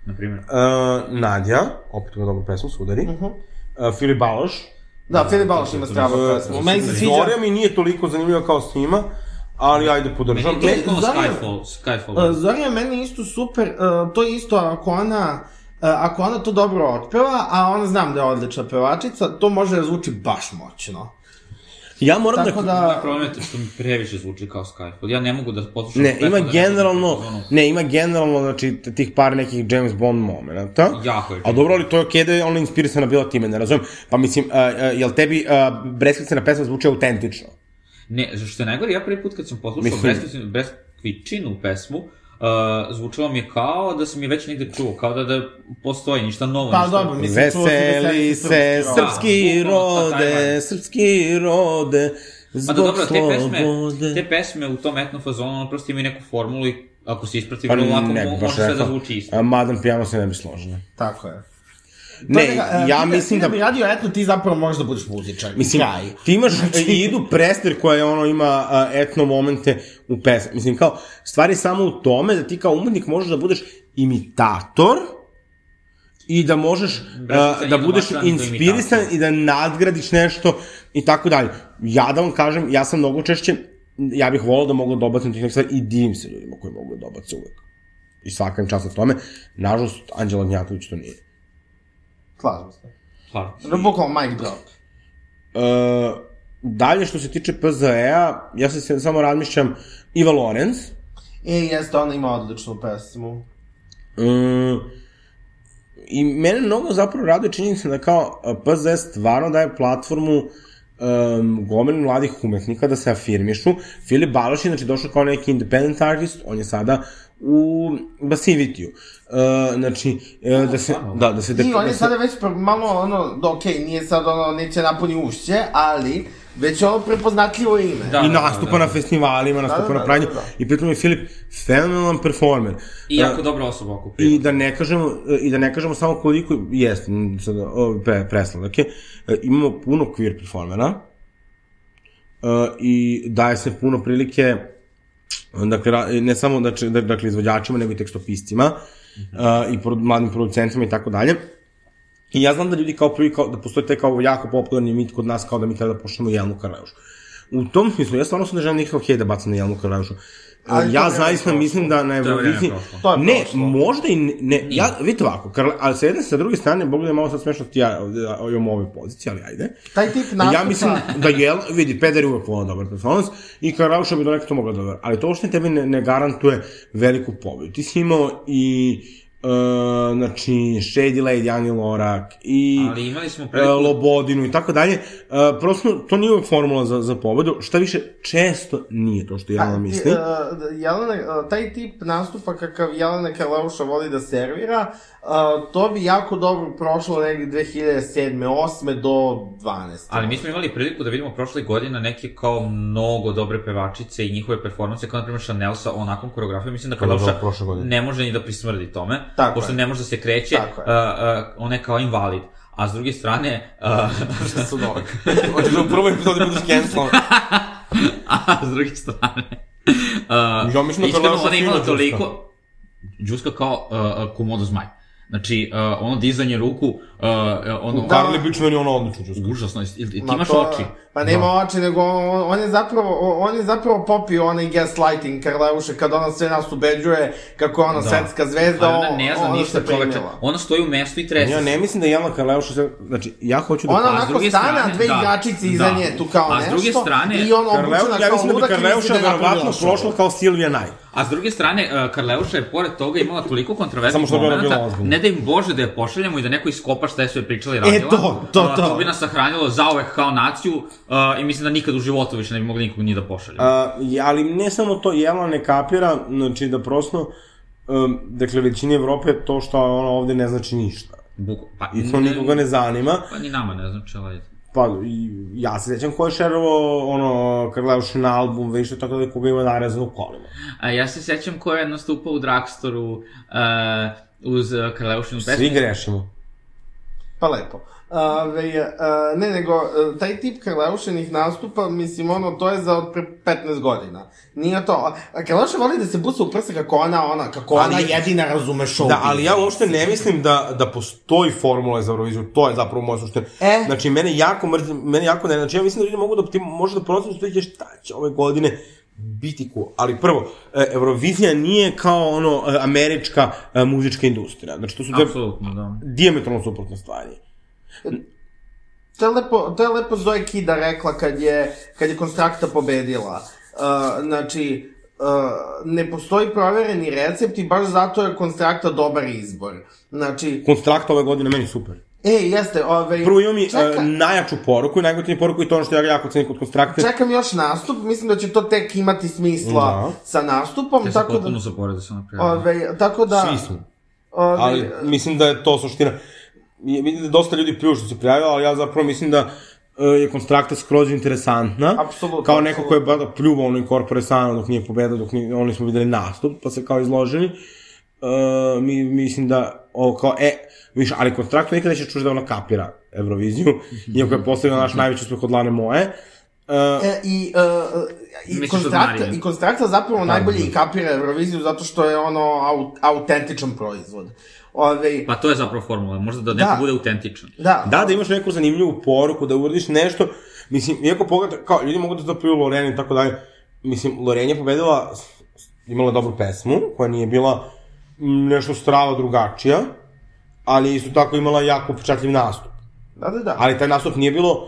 Speaker 5: Naprimjer.
Speaker 7: Uh, Nadja, opet ima dobru pesmu, Sudari. Uh
Speaker 3: Mhm.
Speaker 7: -huh. uh, Filip Baloš.
Speaker 3: Da, Filip Baloš ima stravu
Speaker 7: Uh,
Speaker 3: pesmu. Meni se sviđa...
Speaker 7: Zorija mi nije toliko zanimljiva kao s njima, ali ajde
Speaker 5: Meni
Speaker 7: podržam.
Speaker 5: je to
Speaker 7: Ne,
Speaker 5: kao
Speaker 3: Zarija-
Speaker 5: Skyfall. Skyfall.
Speaker 3: Uh, Zorija je meni isto super, uh, to je isto ako ona uh, ako ona to dobro otpeva, a ona znam da je odlična pevačica, to može da zvuči baš moćno.
Speaker 4: Ja moram
Speaker 3: Tako
Speaker 4: da
Speaker 5: Moj
Speaker 3: da,
Speaker 5: problem je to što mi previše zvuči kao Skyfall. Ja ne mogu da poslušam...
Speaker 4: Ne,
Speaker 5: pesmu
Speaker 4: ima
Speaker 5: da ne
Speaker 4: generalno,
Speaker 5: znam ono-
Speaker 4: ne, ima generalno, znači, t- tih par nekih James Bond momenta.
Speaker 5: Jako je.
Speaker 4: A dobro, ali to je okej da je ona inspirisana bila time, ne razumem. Pa mislim, a, a, jel tebi a, Breskvicena pesma zvuči autentično?
Speaker 5: Ne, za što je najgore, ja prvi put kad sam poslušao
Speaker 4: Mislim-
Speaker 5: Breskvičinu, Breskvičinu pesmu, uh, zvučalo mi je kao da sam je već negde čuo, kao da, da postoji ništa novo.
Speaker 3: pa
Speaker 5: ništa.
Speaker 3: dobro, mislim, čuo sam da
Speaker 4: Veseli
Speaker 3: se
Speaker 4: se
Speaker 3: srpski rod.
Speaker 4: srpski
Speaker 5: Da, bukvalno,
Speaker 4: rode,
Speaker 5: taj
Speaker 4: srpski rode,
Speaker 5: Pa da dobro, te pesme,
Speaker 1: slobode.
Speaker 5: te pesme u tom etno fazonu, ono prosto imaju neku formulu i ako se isprati,
Speaker 4: Pa
Speaker 5: vrlo lako
Speaker 4: ne
Speaker 5: mo-
Speaker 4: bi
Speaker 5: može
Speaker 4: baš
Speaker 5: sve da
Speaker 4: rekao.
Speaker 5: zvuči isto.
Speaker 4: A, Madan Pijano se ne bi složila.
Speaker 3: Da, Tako je.
Speaker 4: Ne,
Speaker 3: Pa da ga, e,
Speaker 4: ja
Speaker 3: ti
Speaker 4: mislim
Speaker 3: ti
Speaker 4: da...
Speaker 3: bi radio etno, ti zapravo možeš da budeš muzičar.
Speaker 4: Mislim,
Speaker 3: Kraj.
Speaker 4: ti imaš Idu Prester koja je ono ima a, etno momente u pesmi. Mislim, kao, stvar je samo u tome da ti kao umetnik možeš da budeš imitator i da možeš a,
Speaker 5: Brzica
Speaker 4: da
Speaker 5: Idu
Speaker 4: budeš
Speaker 5: Bačan do
Speaker 4: inspirisan i da nadgradiš nešto i tako dalje. Ja da vam kažem, ja sam mnogo češće, ja bih volao da mogu dobacim tih nekih stvari i divim se ljudima koji mogu da dobace uvek. I svaka im čast na tome. Nažalost, Anđela Gnjatović to nije.
Speaker 3: Slažem se.
Speaker 5: Stvarno.
Speaker 3: No, Bukvalno mic drop.
Speaker 4: E, dalje što se tiče PZE-a, ja se sve- samo razmišljam Iva Lorenz. E,
Speaker 3: E, jeste, ona ima odličnu pesmu.
Speaker 4: I mene mnogo zapravo raduje činjenica da kao e, PZE stvarno daje platformu um, gomili mladih umetnika da se afirmišu. Filip Baloš je znači, došao kao neki independent artist, on je sada u Basivitiju. E, znači, e, da se... Da, da se
Speaker 3: I on je
Speaker 4: da se-
Speaker 3: sada već pre- malo ono, da okej, nije sad ono, neće napuni ušće, ali već je ono prepoznatljivo ime.
Speaker 5: Da,
Speaker 4: i
Speaker 5: da, da,
Speaker 4: nastupa
Speaker 5: da.
Speaker 4: na festivalima, nastupa
Speaker 3: da,
Speaker 4: na pranju.
Speaker 3: da, da.
Speaker 4: I pritom je Filip fenomenalan performer.
Speaker 5: I
Speaker 4: E,
Speaker 5: jako dobra osoba okupira.
Speaker 4: I da ne kažemo, i da ne kažemo samo koliko jeste, m, sad, o, pre, presladak je, E, imamo puno queer performera e, i daje se puno prilike dakle, ra- ne samo dakle, dakle izvođačima, nego i tekstopiscima e, i produ, mladim producentima i tako dalje. I ja znam da ljudi kao prvi, kao, da postoji taj kao jako popularni mit kod nas kao da mi treba da pošljemo Jelnu Karlajušu. U tom smislu, ja stvarno sam ne želim nikakav hej da bacam na Jelnu Karlajušu. E,
Speaker 3: Ali to
Speaker 4: Ja
Speaker 3: vreme je
Speaker 4: zaista
Speaker 3: prošlo.
Speaker 4: mislim da na
Speaker 5: To je vreme
Speaker 4: Euroviziji...
Speaker 5: prošlo.
Speaker 3: To je
Speaker 4: Ne,
Speaker 3: prošlo.
Speaker 4: možda i ne, ne ja,
Speaker 7: Mm.
Speaker 4: vidite ovako, Karla, ali sa jedne, sa druge strane, Bog da je malo sad smešno ti ja ovde, a, imam ove pozicije, ali ajde.
Speaker 3: Taj tip nastupa...
Speaker 4: Ja mislim da je, vidi, Peder je uvek volao dobar performans i Karlauša bi do nekada to mogla da dobar, ali to uopšte tebi ne, ne garantuje veliku pobedu. Ti si imao i, uh, znači, Shady Lady, Ani Lorak i...
Speaker 5: Ali imali smo
Speaker 4: e,
Speaker 5: priliku...
Speaker 4: Lobodinu i tako dalje. E, Prosto, to nije uvek formula za, za pobedu, šta više, često nije to što ja
Speaker 3: A, ti,
Speaker 4: mislim.
Speaker 3: Pa, e, Jelena, e, taj tip nastupa kakav Jelena Karleuša voli da servira, e, to bi jako dobro prošlo negdje 2007. 8. do 12.
Speaker 5: Ali mi smo imali priliku da vidimo prošle godine neke kao mnogo dobre pevačice i njihove performanse, kao na primjer Chanel sa onakvom koreografijom. Mislim da
Speaker 7: Kao da je
Speaker 5: Karloša
Speaker 7: bilo prošle godine.
Speaker 5: ne može ni da prismrdi tome,
Speaker 3: Tako
Speaker 5: pošto
Speaker 3: je.
Speaker 5: ne može da se kreće,
Speaker 3: Tako je.
Speaker 5: a, a, ona je kao invalid. A s druge strane, a, da
Speaker 7: Su dole. Hoćeš da u prvoj epizodi budeš cancelan.
Speaker 5: a (laughs) s druge strane, a,
Speaker 7: Ja mislim da
Speaker 5: iskreno,
Speaker 7: Karleuša
Speaker 5: ona je imala
Speaker 7: fino
Speaker 5: toliko...
Speaker 7: džuska.
Speaker 5: Džuska kao a, a, komodo zmaj. Znači, a, ono dizanje ruku, a, a, ono...
Speaker 3: Da.
Speaker 7: Karli Bić meni ono odlično ću
Speaker 5: Užasno, jel- jel- ti
Speaker 3: (laughs) Ma
Speaker 5: imaš
Speaker 3: to-
Speaker 5: oči.
Speaker 3: Pa
Speaker 4: Da.
Speaker 3: nema oči, nego on, on je zapravo, on je zapravo popio onaj gaslighting Karleuše, kad ona sve nas ubeđuje kako je ona da. svetska zvezda,
Speaker 5: Ali ona ne zna
Speaker 3: ona
Speaker 5: ništa
Speaker 3: se
Speaker 5: čoveče.
Speaker 3: primila.
Speaker 5: Ona stoji u mestu i trese
Speaker 4: Ja
Speaker 5: se.
Speaker 4: ne mislim da je Jelena Karleuša, sve- znači, ja hoću da
Speaker 3: Ona
Speaker 5: a pa, s
Speaker 3: onako
Speaker 5: druge
Speaker 3: stana,
Speaker 5: strane-
Speaker 3: dve
Speaker 5: da,
Speaker 3: igračice iza
Speaker 5: da.
Speaker 3: nje, tu kao
Speaker 5: A s
Speaker 3: nešto.
Speaker 5: druge strane,
Speaker 3: I ona
Speaker 4: Karleu,
Speaker 3: obučena
Speaker 4: ja
Speaker 3: kao
Speaker 4: mislim da bi
Speaker 3: ludak i misli
Speaker 4: Karleuša
Speaker 3: da je
Speaker 4: verovatno
Speaker 3: napravila
Speaker 4: prošla
Speaker 3: šou.
Speaker 4: kao Silvija Naj.
Speaker 5: A s druge strane, e, Karleuša je pored toga imala toliko
Speaker 4: Samo
Speaker 5: kontroverznih
Speaker 4: što bi ona bila
Speaker 5: momenta,
Speaker 4: ozbiljna.
Speaker 5: ne da im Bože da je pošaljamo i da neko iskopa šta je sve pričala i radila.
Speaker 3: to, to,
Speaker 5: A,
Speaker 3: to.
Speaker 5: To bi nas sahranilo zauvek kao naciju e, i mislim da nikad u životu više ne bi mogli nikog ni da pošaljemo.
Speaker 4: A, i- ali ne samo to, Jelena ne kapira, znači da prosto, um, dakle, većini Evrope to što ona ovde ne znači ništa.
Speaker 5: Buk- pa,
Speaker 4: I to nikoga ne zanima.
Speaker 5: Pa ni nama ne znači, ali...
Speaker 4: Pa, i, ja se sećam ko je šerovo, ono, kad gledaš na album, već što tako da koga ima narezano u kolima.
Speaker 5: A ja se sećam ko je nastupao u Dragstoru e, uz e, Karleušinu
Speaker 4: Svi
Speaker 5: pesmu.
Speaker 4: grešimo.
Speaker 3: Pa lepo. Ove, a, ne, nego, e, taj tip Karleušenih nastupa, mislim, ono, to je za od pre 15 godina. Nije to. a- A Karleuša voli da se busa u prsa kako ona, ona, kako
Speaker 4: Ali-
Speaker 3: ona jedina razume šou.
Speaker 4: Da, ali ja uopšte ne mislim da, da postoji formula za Euroviziju, to je zapravo moja suština.
Speaker 3: E.
Speaker 4: Znači, mene jako mrzim, mene jako ne, znači ja mislim da ljudi mogu da, ti može da procesu da ćeš šta će ove godine biti cool. Ali prvo, e, Eurovizija nije kao ono e, američka e, muzička industrija. Znači, to su dve
Speaker 5: Apsolutno, da.
Speaker 4: diametralno suprotne stvari.
Speaker 3: To je lepo, to je lepo Zoe Kida rekla kad je, kad je Konstrakta pobedila. Uh, znači, uh, ne postoji provereni recept i baš zato je Konstrakta dobar izbor. Znači,
Speaker 4: Konstrakt ove godine meni super.
Speaker 3: e, jeste, ovaj...
Speaker 4: Prvo imam i e,
Speaker 3: čeka-
Speaker 4: najjaču poruku i najgotivniju poruku i to ono što ja jako cenim kod Konstrakte.
Speaker 3: Čekam još nastup, mislim da će to tek imati smisla
Speaker 4: Da.
Speaker 3: sa nastupom,
Speaker 5: Ja sam
Speaker 3: tako
Speaker 5: potpuno
Speaker 3: da,
Speaker 5: zaboravio da sam napravio.
Speaker 3: ovaj, tako da,
Speaker 4: Svi smo.
Speaker 3: ovaj,
Speaker 4: ali mislim da je to suština. I Vidim da dosta ljudi prije što se prijavilo, ali ja zapravo mislim da e, je konstrakta skroz interesantna.
Speaker 3: Apsolutno,
Speaker 4: Kao neko ko je
Speaker 3: apsolutno.
Speaker 4: bada pljuvao ono inkorpore Sano dok nije pobedao, dok ni, oni smo videli nastup, pa se kao izložili. E, mi, mislim da ovo kao, e, viš, ali kontraktu nikada neće čuš da ona kapira
Speaker 3: (laughs)
Speaker 4: Euroviziju, iako je postavila naš najveći uspeh od Lane Moje. E,
Speaker 3: E, I, uh, i,
Speaker 5: Misliš od
Speaker 3: konstrakta,
Speaker 5: Marije?
Speaker 3: I konstrakta zapravo najbolje i kapira Euroviziju zato što je ono aut, autentičan proizvod. Ove,
Speaker 5: Pa to je zapravo formula, možda da neko
Speaker 3: Da.
Speaker 5: bude autentičan.
Speaker 3: da,
Speaker 4: Da, da imaš neku zanimljivu poruku, da uradiš nešto, mislim, iako pogleda, kao, ljudi mogu da zapiju Lorena i tako dalje, mislim, Lorena je pobedila, s- s- imala dobru pesmu, koja nije bila m, nešto strava drugačija, ali isto tako imala jako pečatljiv nastup.
Speaker 3: da, da, da.
Speaker 4: Ali taj nastup nije bilo uh,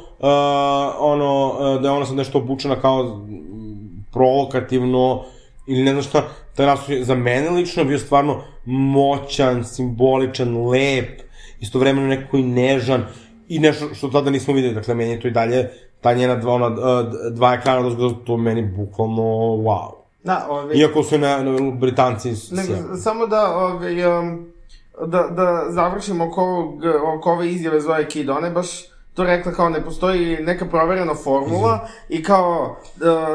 Speaker 4: ono, uh, da je ona sad nešto obučena kao mm, provokativno, ili ne znam šta, taj nastup je za mene lično bio stvarno moćan, simboličan, lep, istovremeno nekako i nežan, i nešto što tada nismo videli, dakle, meni je to i dalje, ta njena dva, ona, uh, dva ekrana dozgleda, to meni bukvalno wow.
Speaker 3: Da, ove,
Speaker 4: Iako su na, na Britanci
Speaker 3: Nego,
Speaker 4: sjajni.
Speaker 3: samo da, ovaj, um, da, da završim oko, ovog, oko ove izjave Zoe Kid, ona je baš to rekla kao ne postoji neka proverena formula i kao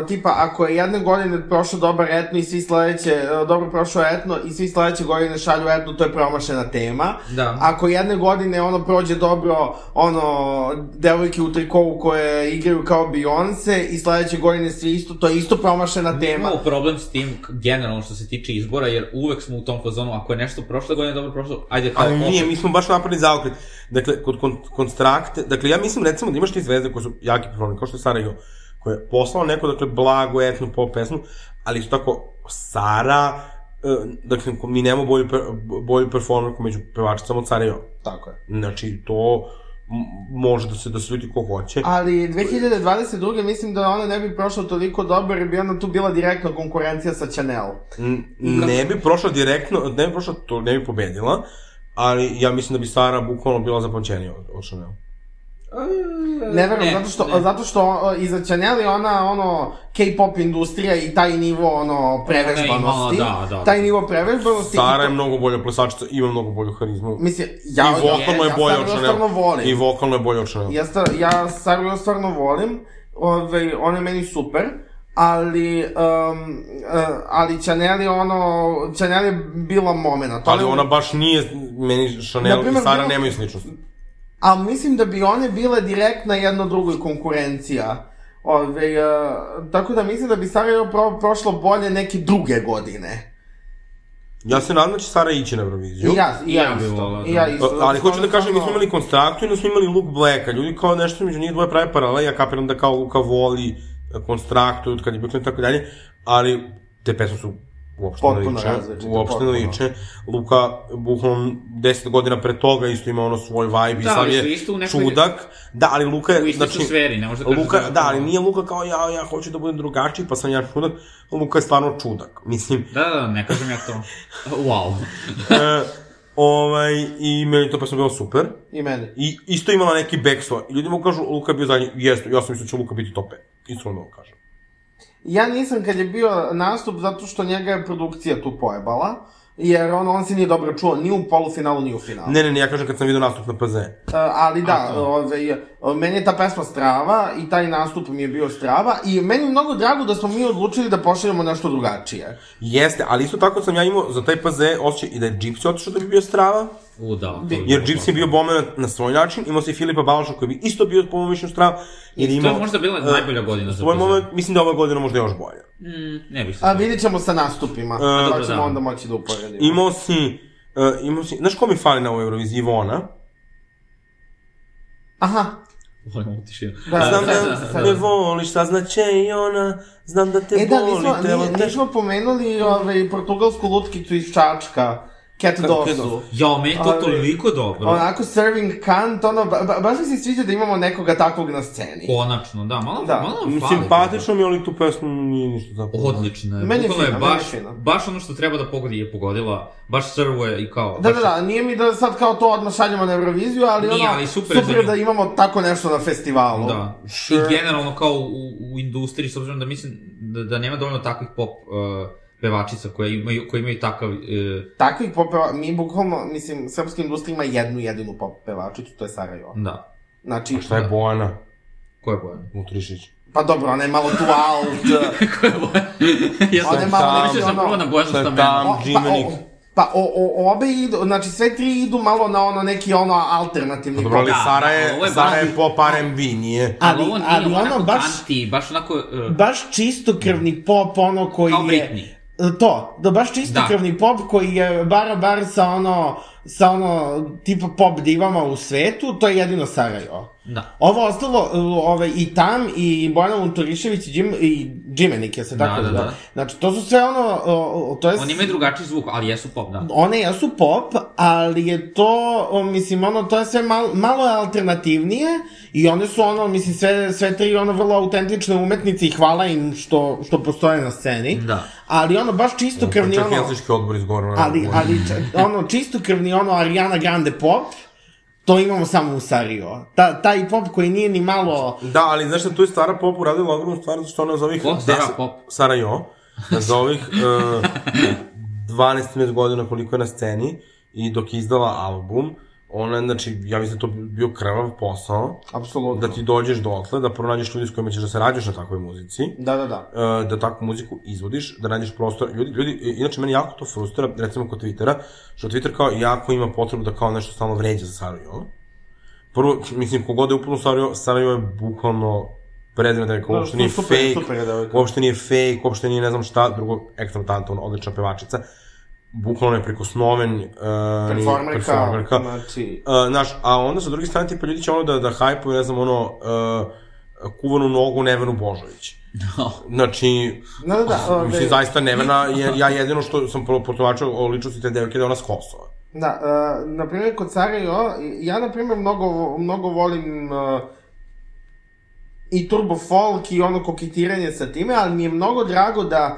Speaker 3: uh, tipa ako je jedne godine prošao dobar etno i svi sledeće uh, dobro prošao etno i svi sledeće godine šalju etno to je promašena tema
Speaker 5: Da.
Speaker 3: ako jedne godine ono prođe dobro ono devojke u trikovu koje igraju kao Beyoncé i sledeće godine svi isto to je isto promašena tema
Speaker 5: Imamo problem s tim k- generalno što se tiče izbora, jer uvek smo u tom fazonu, ako je nešto prošle godine dobro prošlo, ajde kao
Speaker 4: Ali
Speaker 5: Pa opet.
Speaker 4: nije, mi smo baš napravili zaokret. Dakle, kod kon konstrakte, dakle, ja mislim recimo da imaš ti zvezde koje su jaki problem, kao što je Sara Jo, koja je poslala neko, dakle, blagu etnu pop pesmu, ali isto tako Sara, e, dakle, mi nemamo bolju, per, bolju performerku među pevačicama od Sara Jo.
Speaker 3: tako je
Speaker 4: Znači, to m- može da se, da se ljudi ko hoće.
Speaker 3: Ali 2022. mislim da ona ne bi prošla toliko dobro jer bi ona tu bila direktna konkurencija sa Chanel.
Speaker 4: N- ne bi prošla direktno, ne bi prošla, to ne bi pobedila, ali ja mislim da bi Sara bukvalno bila zapamćenija od, od Chanel.
Speaker 3: Ne verujem,
Speaker 5: ne,
Speaker 3: zato što,
Speaker 5: ne.
Speaker 3: zato što o, iza Chanel je ona ono K-pop industrija i taj nivo ono prevežbanosti.
Speaker 5: Ona je imala, da, da.
Speaker 3: Taj nivo prevežbanosti.
Speaker 4: Sara
Speaker 3: i
Speaker 4: je
Speaker 3: to-
Speaker 4: mnogo bolja plesačica, ima mnogo bolju harizmu.
Speaker 3: Mislim, ja,
Speaker 4: I vokalno
Speaker 3: ja,
Speaker 4: je
Speaker 3: ja
Speaker 4: bolje
Speaker 3: Saru
Speaker 4: od Chanel.
Speaker 3: stvarno volim.
Speaker 4: I vokalno je bolje od Chanel.
Speaker 3: Ja, sta, ja Saru ja stvarno volim, ove, ona je meni super, ali, um, uh, ali Chanel je ono, Chanel je bila momena.
Speaker 4: Ali ona baš nije, meni Chanel
Speaker 3: Naprimer,
Speaker 4: i Sara
Speaker 3: bilo-
Speaker 4: nemaju sličnost.
Speaker 3: A mislim da bi one bile direktna jedna drugoj konkurencija. Ove, e, tako da mislim da bi Sarajevo pro, prošlo bolje neke druge godine.
Speaker 4: Ja se nadam da će Sara ići na Euroviziju.
Speaker 3: I ja, i ja,
Speaker 5: Ja bi
Speaker 3: isto.
Speaker 5: volao,
Speaker 3: I
Speaker 5: da.
Speaker 3: ja isto.
Speaker 4: Ali hoću da kažem, mi smo imali konstraktu i da smo imali Luke Blacka. Ljudi kao nešto među njih dvoje prave paralele, ja kapiram da kao Luka voli e, konstraktu od kad je bio klinac i tako dalje, ali te pesme su uopšte ne
Speaker 3: Potpuno
Speaker 4: liče.
Speaker 3: različite,
Speaker 4: Uopšte ne
Speaker 3: potpuno.
Speaker 4: liče. Luka, bukvalno, 10 godina pre toga isto ima ono svoj vibe i
Speaker 5: Da,
Speaker 4: sad
Speaker 5: ali su
Speaker 4: je
Speaker 5: isto u nekoj-
Speaker 4: čudak. Da, ali Luka
Speaker 5: U
Speaker 4: je,
Speaker 5: istoj
Speaker 4: znači,
Speaker 5: su sferi, ne možda kažeš
Speaker 4: Luka,
Speaker 5: je-
Speaker 4: da, ali nije Luka kao ja, ja hoću da budem drugačiji, pa sam ja čudak. Luka je stvarno čudak. (laughs) Mislim,
Speaker 5: Da, da, da, ne kažem ja to. Wow. Da.
Speaker 4: e, ovaj, i meni to pa sam bilo super.
Speaker 3: I meni.
Speaker 4: I isto je imala neki backstory. I ljudi mu kažu, Luka je bio zadnji. Jeste, ja sam mislio da će Luka biti top 5. Iskreno da vam kažem.
Speaker 3: Ja nisam kad je bio nastup zato što njega je produkcija tu pojebala. Jer on, on se nije dobro čuo ni u polufinalu, ni u finalu.
Speaker 4: Ne, ne, ne, ja kažem kad sam vidio nastup na PZ.
Speaker 3: E, ali da, ove, meni je ta pesma strava i taj nastup mi je bio strava i meni je mnogo drago da smo mi odlučili da pošaljemo nešto drugačije.
Speaker 4: Jeste, ali isto tako sam ja imao za taj PZ osjećaj i da je Gypsy otišao da bi bio strava,
Speaker 5: U, da. to
Speaker 4: jer Gypsy je bio bomben na svoj način, imao si Filipa Balaša koji bi isto bio po mojom mišljenju strava, jer je
Speaker 5: To je
Speaker 4: imao...
Speaker 5: možda bila
Speaker 4: e,
Speaker 5: najbolja godina za
Speaker 4: Svoj
Speaker 5: Pazar.
Speaker 4: moment, mislim da je ova godina možda još bolja.
Speaker 5: Mm, ne bih se...
Speaker 3: A vidit ćemo sa nastupima, uh,
Speaker 5: dobro,
Speaker 3: to ćemo
Speaker 5: da.
Speaker 3: onda moći da uporedimo.
Speaker 4: Imao si, uh, imao si, znaš ko mi fali na ovoj Euroviziji? Ivona.
Speaker 3: Aha,
Speaker 5: Volim ovu tišinu.
Speaker 3: Da,
Speaker 5: A,
Speaker 4: Znam
Speaker 3: da,
Speaker 4: da me voliš, saznaće i ona, znam da te
Speaker 3: e da,
Speaker 4: boli,
Speaker 3: nismo,
Speaker 4: telo
Speaker 3: ni-
Speaker 4: te...
Speaker 3: nismo pomenuli ovaj, portugalsku lutkicu iz Čačka, Cat Dosu.
Speaker 5: Jao, meni je to
Speaker 3: Ali-
Speaker 5: toliko dobro.
Speaker 3: Onako serving kant, ono, ba, ba, baš mi se sviđa da imamo nekoga takvog na sceni.
Speaker 5: Konačno, da, malo,
Speaker 3: Da.
Speaker 5: malo nam
Speaker 4: Mislim,
Speaker 5: fali.
Speaker 4: Simpatično mi, je, ali tu pesmu nije ništa zapravo.
Speaker 5: Odlično je.
Speaker 3: Meni je
Speaker 5: Bukvalno je
Speaker 3: fino, meni je
Speaker 5: baš,
Speaker 3: fino.
Speaker 5: baš ono što treba da pogodi je pogodila. Baš servuje i kao...
Speaker 3: Da,
Speaker 5: baš
Speaker 3: da,
Speaker 5: je
Speaker 3: da, nije mi da sad kao to odmah šaljamo na Euroviziju, ali
Speaker 5: Nije,
Speaker 3: ono,
Speaker 5: ali super je
Speaker 3: super
Speaker 5: za nju.
Speaker 3: da imamo tako nešto na festivalu.
Speaker 5: Da. Sure. I generalno kao u, u industriji, s obzirom da mislim da, da nema dovoljno takvih pop uh, pevačica koje imaju, koje imaju takav... Uh,
Speaker 3: Takvih pop peva- mi bukvalno, mislim, srpska industrija ima jednu jedinu pop pevačicu, to je Sara Jovan.
Speaker 5: da.
Speaker 3: Znači,
Speaker 4: Šta je Bojana?
Speaker 5: Ko je (laughs) Bojan?
Speaker 4: Nutrišić.
Speaker 3: Pa dobro, ona je malo tu alt.
Speaker 5: Ko je Bojan? ja
Speaker 3: Ona je
Speaker 5: sam,
Speaker 3: malo
Speaker 5: sam,
Speaker 3: neki
Speaker 5: mislio sam
Speaker 3: ono-
Speaker 5: prvo na Bojanu
Speaker 4: Šta je
Speaker 5: Stamenu.
Speaker 4: tamo?
Speaker 3: O, pa,
Speaker 4: Džimenik.
Speaker 3: o, pa o, o, obe idu, znači sve tri idu malo na ono neki ono alternativni
Speaker 4: Dobro, ali
Speaker 5: Da,
Speaker 4: Sara je,
Speaker 5: da, ovo je
Speaker 4: Sara je
Speaker 5: baš-
Speaker 4: pop R&B, nije.
Speaker 5: Ali,
Speaker 3: Ali-
Speaker 5: on
Speaker 3: ali
Speaker 5: nije
Speaker 3: ono
Speaker 5: onako
Speaker 3: baš-
Speaker 5: anti, baš onako... Uh,
Speaker 3: baš čistokrvni pop, ono koji
Speaker 5: Kao
Speaker 3: je... To, da baš čistokrvni pop koji je bara bar sa ono, sa ono, tipa pop divama u svetu, to je jedino Sarajevo.
Speaker 5: da.
Speaker 3: Ovo ostalo, uh, ove, i tam, i Bojana Vunturišević, i, Đim, i Džimenik, je se
Speaker 5: Da,
Speaker 3: tako
Speaker 5: da,
Speaker 3: da,
Speaker 5: da.
Speaker 3: Znači, to su sve ono, o, o, to je...
Speaker 5: Oni imaju drugačiji zvuk, ali jesu pop, da.
Speaker 3: One jesu pop, ali je to, o, mislim, ono, to je sve malo, malo je alternativnije i one su, ono, mislim, sve, sve tri, ono, vrlo autentične umetnice i hvala im što, što postoje na sceni.
Speaker 5: Da.
Speaker 3: Ali, ono, baš čistokrvni,
Speaker 4: Čak i
Speaker 3: ono,
Speaker 4: Helsički odbor izgovorio.
Speaker 3: ali, ali, č- ono, čistokrvni, ono, Ariana Grande pop, to imamo samo u Sario. Ta, taj pop koji nije ni malo...
Speaker 4: Da, ali znaš šta, tu je Sara Pop uradila ogromnu stvar, zato što ona za ovih...
Speaker 5: Ko? Sara
Speaker 4: deset-
Speaker 5: Pop?
Speaker 4: Sara Jo. Za ovih uh, 12-13 godina koliko je na sceni i dok je izdala album, ona, je, znači, ja mislim da je to bio krvav posao,
Speaker 3: Apsolutno.
Speaker 4: da ti dođeš dotle, da pronađeš ljudi s kojima ćeš da se rađaš na takvoj muzici,
Speaker 3: Da, da, da.
Speaker 4: e, da takvu muziku izvodiš, da nađeš prostor. Ljudi, ljudi, e, inače meni jako to frustira, recimo kod Twittera, što Twitter kao jako ima potrebu da kao nešto stalno vređa za Sarajevo. Prvo, mislim, kogod je upuno Sarajevo, Sarajevo je bukvalno predmet da je kao
Speaker 3: Da,
Speaker 4: uopšte nije
Speaker 3: super je,
Speaker 4: fake,
Speaker 3: super je devojka.
Speaker 4: uopšte nije fake, uopšte nije ne znam šta, drugo, ekstravtanta, ono, odlična pevačica, bukvalno je prekosnoven uh,
Speaker 3: Performerka,
Speaker 4: performerka.
Speaker 3: znači...
Speaker 4: Uh, znaš, a onda sa druge strane tipa ljudi će ono da, da hajpuju, ne znam, ono, uh, kuvanu nogu Nevenu Božović. Znači,
Speaker 3: Da, da, da. ove-
Speaker 4: mislim, zaista Nevena, jer ja jedino što sam pro- protumačio o ličnosti te devojke je da je ona s Kosova.
Speaker 3: Da, uh, na primjer kod Sarajevo, ja na primjer mnogo, mnogo volim uh, i turbo folk i ono koketiranje sa time, ali mi je mnogo drago da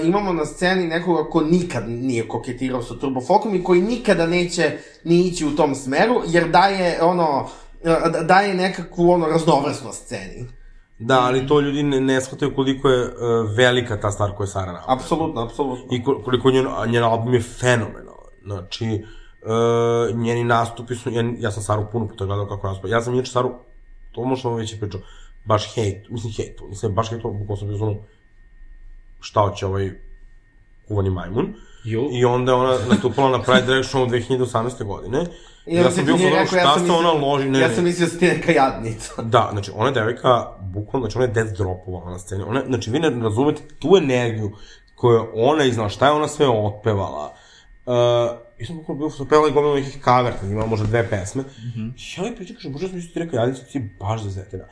Speaker 3: uh, imamo na sceni nekoga ko nikad nije koketirao sa turbo folkom i koji nikada neće ni ići u tom smeru, jer daje ono, uh, daje nekakvu ono raznovrsnost sceni.
Speaker 4: Da, ali to ljudi ne, ne shvataju koliko je uh, velika ta stvar koju je Sara napravila.
Speaker 3: Apsolutno, apsolutno.
Speaker 4: I ko- koliko njen, a njen album je fenomenalan. Znači, uh, njeni nastupi su, ja, ja sam Saru puno puta gledao kako nastupa. Ja sam inače Saru, to možda vam već je pričao, baš hejt, mislim hejt, mislim baš hejt, bukvalno sam bio zvonu, šta hoće ovaj kuvani majmun.
Speaker 5: Jo.
Speaker 4: I onda je ona nastupala na Pride Drag Show (laughs) 2018. godine. I ja
Speaker 3: onda
Speaker 4: sam
Speaker 3: ti
Speaker 4: bio
Speaker 3: nije
Speaker 4: fotograf,
Speaker 3: rekao, ja
Speaker 4: šta
Speaker 3: sam
Speaker 4: se ona
Speaker 3: mislio-
Speaker 4: loži, ne,
Speaker 3: ja
Speaker 4: ne.
Speaker 3: sam mislio da si ti neka jadnica.
Speaker 4: (laughs) Da, znači ona je devojka, bukvalno, znači ona je death dropovala na sceni. Ona, znači vi ne razumete tu energiju koju je ona iznala, šta je ona sve otpevala. Uh, I sam bukvalno bio sam pevala i gomilu nekih cover, sam imala možda dve pesme. Mm -hmm. Ja joj pričam, kažem, bože, sam isto ti rekao, ja ti si baš zazetena.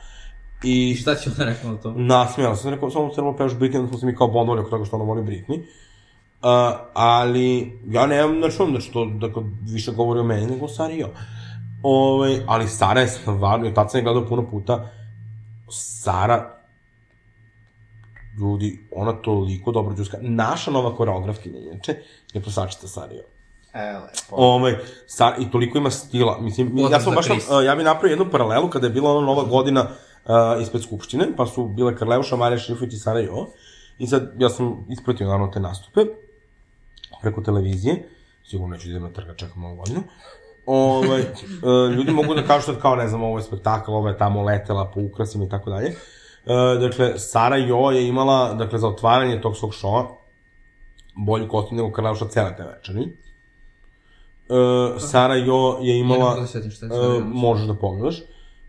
Speaker 4: I
Speaker 5: I šta će onda rekao na to?
Speaker 4: Nasmijala sam, rekao, samo trebalo pevaš Britney, onda smo se mi kao bondovali oko toga što ona voli Britney. Uh, ali, ja nemam na čom, znači to dakle, više govori o meni nego o Sari i o. Ove, ali Sara je stvarno, i tad sam je gledao puno puta, Sara, ljudi, ona toliko dobro džuska. Naša nova koreografkinja, inače, je prosačica Sara i o.
Speaker 3: E, lepo.
Speaker 4: Ome, sa, i toliko ima stila. Mislim,
Speaker 5: Pozdrav
Speaker 4: ja sam
Speaker 5: za
Speaker 4: baš,
Speaker 5: Kris.
Speaker 4: uh, ja bih napravio jednu paralelu kada je bila ona nova godina uh, ispred Skupštine, pa su bile Karleuša, Marija Šrifović i Sara Jo. I sad, ja sam ispratio naravno te nastupe preko televizije. Sigurno neću da idem na trga, čekam ovu godinu. Ove, uh, ljudi mogu da kažu sad kao, ne znam, ovo je spektakl, ova je tamo letela po ukrasima i tako dalje. E, dakle, Sara Jo je imala, dakle, za otvaranje tog svog šoa bolji kostim nego Karleuša cele te večeri. Uh, Sara Jo je
Speaker 5: Ne mogu
Speaker 4: imala,
Speaker 5: da se setim šta je Sara Jo.
Speaker 4: uh, možeš da pogledaš, uh,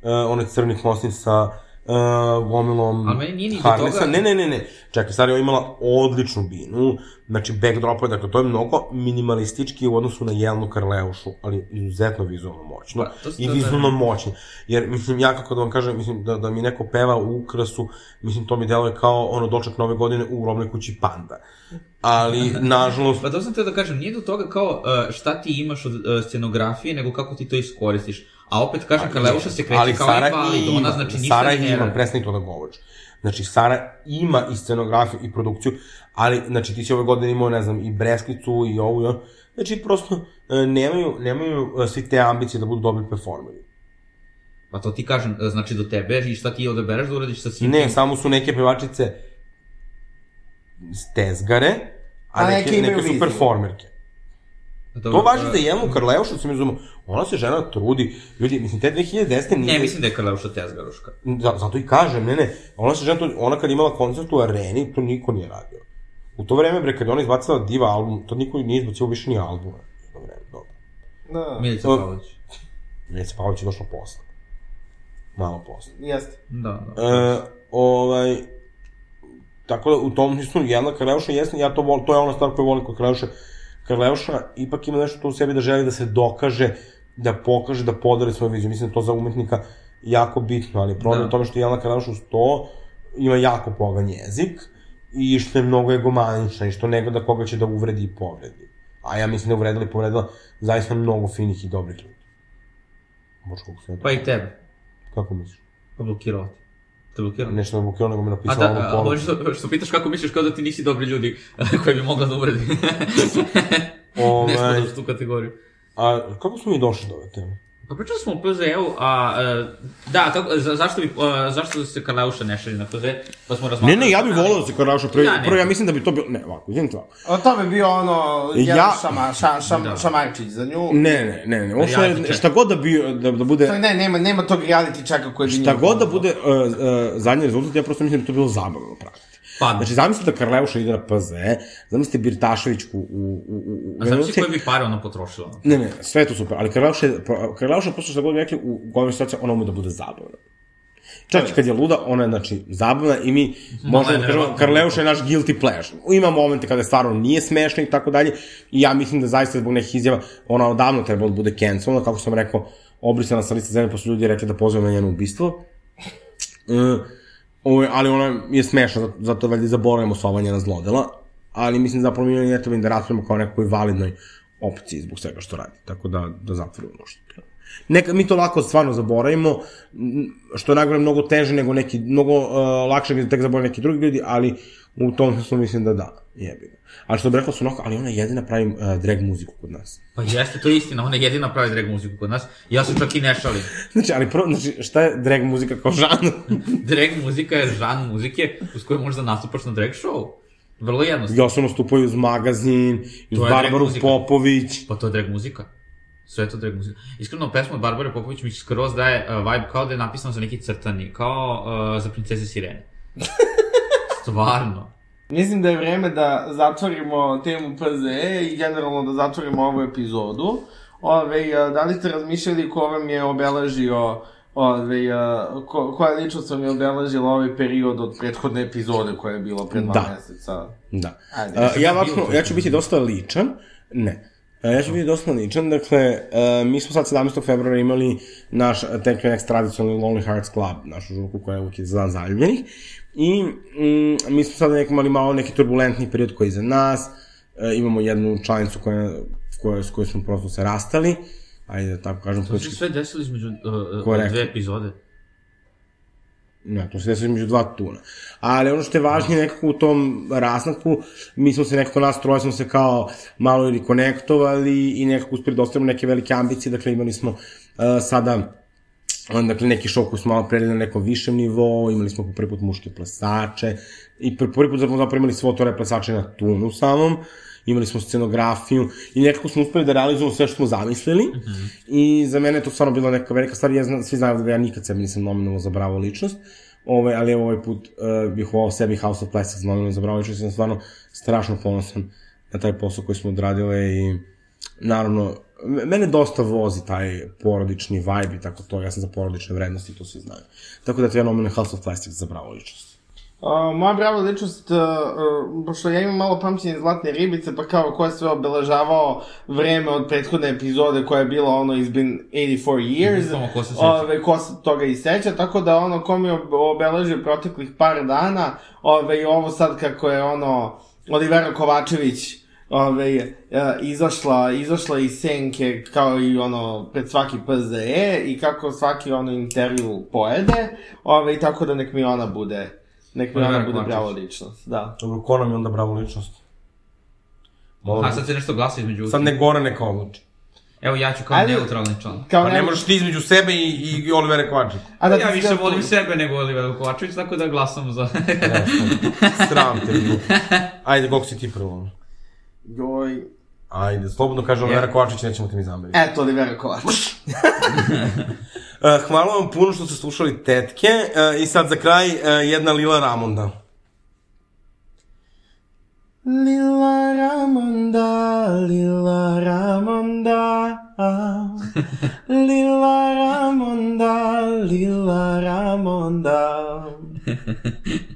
Speaker 4: onaj crni kostim sa uh, gomilom
Speaker 5: Ali meni nije ni do
Speaker 4: harnesa.
Speaker 5: toga-
Speaker 4: Ne, ne, ne, ne. Čekaj, Sara Jo je imala odličnu binu, znači backdropa, dakle to je mnogo minimalistički u odnosu na Jelnu Karleušu, ali izuzetno vizualno moćno.
Speaker 5: Pa, to se
Speaker 4: I
Speaker 5: da-
Speaker 4: vizualno moćni. Jer, mislim, ja kako da vam kažem, mislim, da, da mi neko peva u ukrasu, mislim, to mi deluje kao ono doček nove godine u robnoj kući Panda. Ali, (laughs) nažalost,
Speaker 5: Pa to sam teo da kažem, nije do toga kao uh, šta ti imaš od uh, scenografije, nego kako ti to iskoristiš. A opet kažem, Karleuša se kreće
Speaker 4: ali
Speaker 5: kao
Speaker 4: Sara
Speaker 5: invalid,
Speaker 4: ima,
Speaker 5: ona znači ništa
Speaker 4: Sara
Speaker 5: ne
Speaker 4: ima,
Speaker 5: nervira.
Speaker 4: prestani to da govoriš. Znači, Sara ima i scenografiju i produkciju, ali, znači, ti si ove godine imao, ne znam, i Bresklicu i ovu, i ono. Znači, prosto, e, nemaju, nemaju e, svi te ambicije da budu dobri performeri.
Speaker 5: Pa to ti kažem, e, znači do tebe i šta ti odabereš da uradiš sa svim.
Speaker 4: Ne, samo su neke pevačice stezgare, a,
Speaker 3: A
Speaker 4: neke,
Speaker 3: neke imaju
Speaker 4: neke su
Speaker 3: viziju.
Speaker 4: performerke.
Speaker 5: Dobro,
Speaker 7: To važi
Speaker 5: e,
Speaker 7: za jednu Karleušu, se mi razumemo. Ona se žena trudi. Ljudi, mislim, te 2010. nije...
Speaker 5: Ne, mislim da je Karleuša Tezgaruška.
Speaker 7: Da, zato i kažem, ne, ne. Ona se žena, trudi. ona kad je imala koncert u areni, to niko nije radio. U to vreme, bre, kad je ona izbacila diva album, to niko nije izbacio više ni albuma. U to vreme, dobro.
Speaker 3: Da,
Speaker 5: Milica
Speaker 7: To-
Speaker 5: Pavlović.
Speaker 7: Milica Pavlović je došla posle. Malo posle.
Speaker 3: jeste.
Speaker 5: Da, da.
Speaker 7: E, ovaj, tako da u tom smislu jedna Karleuša jeste, ja to volim, to je ona stvar koju volim kod Karleuše. Karleuša ipak ima nešto to u sebi da želi da se dokaže, da pokaže, da podari svoju viziju. Mislim da je to za umetnika jako bitno, ali problem da.
Speaker 5: Da.
Speaker 7: je u tome što Jelena Karleuša uz to ima jako pogan jezik i što je mnogo egomanična i što ne gleda koga će da uvredi i povredi. A ja mislim da je uvredila i povredila zaista mnogo finih i dobrih ljudi. Bože, koliko sam ja to-
Speaker 5: Pa i tebe.
Speaker 7: Kako misliš?
Speaker 5: Pa blokirala ti. Te blokirala.
Speaker 7: Nešto da blokirao, nego mi je
Speaker 5: A
Speaker 7: napisao
Speaker 5: da,
Speaker 7: ono
Speaker 5: a,
Speaker 7: poruku.
Speaker 5: ovo što, što pitaš kako misliš kao da ti nisi dobri ljudi (laughs) koji bi mogla da uvredi. ne
Speaker 7: Ovaj,
Speaker 5: spada u tu kategoriju.
Speaker 7: a kako smo mi došli do ove teme?
Speaker 5: Pa pričali smo o PZE-u, a e, da, kako, za, zašto, bi, e, zašto se Karleuša ne šalje na PZ, pa smo
Speaker 4: Ne,
Speaker 5: razmatrali.
Speaker 4: ne, ja bih volao da se Karleuša prvi,
Speaker 5: Da, ne.
Speaker 4: prvo ja mislim da bi to bilo, ne, ovako, idem to.
Speaker 3: O tome je bio ono, jedan ja...
Speaker 4: Ja-
Speaker 3: šama, ša, šam,
Speaker 5: Da.
Speaker 3: šamarčić za nju.
Speaker 4: Ne, ne, ne, ne, ovo što
Speaker 5: Ja,
Speaker 4: je,
Speaker 5: čekaj.
Speaker 4: šta god da bio, da, da bude,
Speaker 3: Ne, ne, nema, nema tog reality čaka koji bi
Speaker 4: šta
Speaker 3: nju
Speaker 4: god da
Speaker 3: volio.
Speaker 4: bude uh, uh, zadnji rezultat, ja prosto mislim da bi to bilo zabavno pratiti.
Speaker 5: Pa,
Speaker 4: Znači, zamislite da Karleuša ide na PZE, zamislite Birtaševićku u... u, u, u
Speaker 5: a znači koje bi pare ono potrošila?
Speaker 4: Ne, ne, sve je to super, ali Karleuša, je- Karleuša prosto što god bi rekli u govornim situacijama, ona ume da bude zabavna. Čak i kad je luda, ona je, znači, zabavna i mi možemo da kažemo,
Speaker 5: neverovatno.
Speaker 4: Karleuša je naš guilty pleasure. Ima momente kada stvarno nije smešno i tako dalje i ja mislim da zaista zbog nekih izjava ona odavno trebala da bude cancelona, kako sam rekao, obrisana sa liste zemlje, posle ljudi rekli da pozivaju na njeno ubistvo. E, ovaj, ali ona je smešna, zato, zato valjda i zaboravimo sva ova njena zlodela, ali mislim zapravo mi ne treba ni da raspravimo kao o nekoj validnoj opciji zbog svega što radi, tako da, da zatvorimo ono što treba. Neka, mi to lako stvarno zaboravimo, m, što je nagore mnogo teže nego neki, mnogo uh, lakše da tek zaboravimo neki drugi ljudi, ali u tom smislu mislim da da, jebi ga. Ali što bi rekao su ali ona jedina pravi uh, drag muziku kod nas.
Speaker 5: Pa jeste, to je istina, ona je jedina pravi drag muziku kod nas. Ja se čak i ne šalim.
Speaker 4: Znači, ali prvo, znači, šta je drag muzika kao žanr?
Speaker 5: Drag muzika je žan muzike uz koju možda nastupaš na drag show. Vrlo jednostavno.
Speaker 4: Ja sam nastupao i uz magazin, i uz
Speaker 5: To je drag
Speaker 4: Barbaru
Speaker 5: muzika.
Speaker 4: Popović,
Speaker 5: Pa to je drag muzika. Sve je to drag muzika. Iskreno, pesma od Barbare Popović mi skroz daje uh, vibe kao da je napisana za neki crtani, kao uh, za princeze
Speaker 4: (laughs)
Speaker 5: Sirene. Stvarno.
Speaker 3: Mislim da je vreme da zatvorimo temu PZE i generalno da zatvorimo ovu epizodu. Ove, a, da li ste razmišljali ko vam je obeležio Ove, a, ko, koja ličnost vam je obeležila ovaj period od prethodne epizode koja je bila pre dva
Speaker 4: Da.
Speaker 3: meseca?
Speaker 4: Da.
Speaker 3: Ajde.
Speaker 4: Uh, ja, vapno, ja ću biti dosta ličan. Ne. E, Ja ću biti dosta ličan, dakle, e, mi smo sad 17. februara imali naš TKX tradicionalni Lonely Hearts Club, našu žurku koja je uvijek za dan zaljubljenih, i mm, mi smo sad nek, imali malo neki turbulentni period koji je iza nas, e, imamo jednu članicu koja, koja, s kojoj smo prosto se rastali, ajde da tako kažem,
Speaker 5: To se
Speaker 4: politički,
Speaker 5: sve desilo između uh,
Speaker 4: Korektno.
Speaker 5: dve epizode.
Speaker 4: ne, to se desilo između dva tuna. Ali ono što je važnije nekako u tom rasnaku, mi smo se nekako nas troje smo se kao malo ili konektovali i nekako uspeli da ostavimo neke velike ambicije, dakle imali smo uh, sada dakle, neki show koji smo malo preli na nekom višem nivou, imali smo po prvi put muške plesače, i po prvi put smo zapravo imali svo to plesače na tunu samom, imali smo scenografiju i nekako smo uspeli da realizujemo sve što smo zamislili mm -hmm. i za mene je to stvarno bila neka velika stvar, ja znam, svi znaju da ja nikad sebe nisam nominalno zabravo ličnost, Ove, ali evo ovaj put uh, bih volao sebi House of Plastics nominalno zabravo ličnost, i sam stvarno strašno ponosan na taj posao koji smo odradile i naravno, m- mene dosta vozi taj porodični vibe i tako to, ja sam za porodične vrednosti, to svi znaju. Tako da to je jedan omen House of Plastics za bravo ličnost.
Speaker 3: A, moja brava ličnost, a, a, pošto ja imam malo pamćenje zlatne ribice, pa kao ko je sve obeležavao vreme od prethodne epizode koja je bila ono It's been 84 years,
Speaker 5: Samo ko se seća.
Speaker 3: ove, ko se toga i seća, tako da ono ko mi je ob- obeležio proteklih par dana, ove, i ovo sad kako je ono Olivera Kovačević ove, e, izašla, izašla iz senke kao i ono pred svaki PZE i kako svaki ono intervju pojede, ove, i tako da nek mi ona bude nek mi
Speaker 5: Olivera
Speaker 3: ona bude
Speaker 5: Kovačević.
Speaker 3: bravo ličnost, da.
Speaker 7: Dobro, ko nam je onda bravo ličnost? Molim.
Speaker 5: A sad se nešto glasa između...
Speaker 7: Sad ne gore neka odluči.
Speaker 5: Evo ja ću kao
Speaker 3: Ajde.
Speaker 5: neutralni član.
Speaker 3: Kao
Speaker 7: Pa ne
Speaker 3: ne-
Speaker 7: možeš ti između sebe i, i Olivera Kovačić.
Speaker 3: a da ti
Speaker 5: ja
Speaker 3: si
Speaker 5: više
Speaker 3: zato-
Speaker 5: volim sebe nego Olivera Kovačević, tako da glasam za...
Speaker 7: Sram te. ljudi. Ajde, koliko si ti prvo?
Speaker 3: Joj,
Speaker 4: Ajde, slobodno kaže Olivera Kovačić, nećemo ti mi zameriti.
Speaker 3: Eto, Olivera Kovač.
Speaker 4: E, hvala vam puno što ste slušali tetke e, i sad za kraj e, jedna Lila Ramonda.
Speaker 3: Lila Ramonda, Lila Ramonda, Lila Ramonda, Lila Ramonda.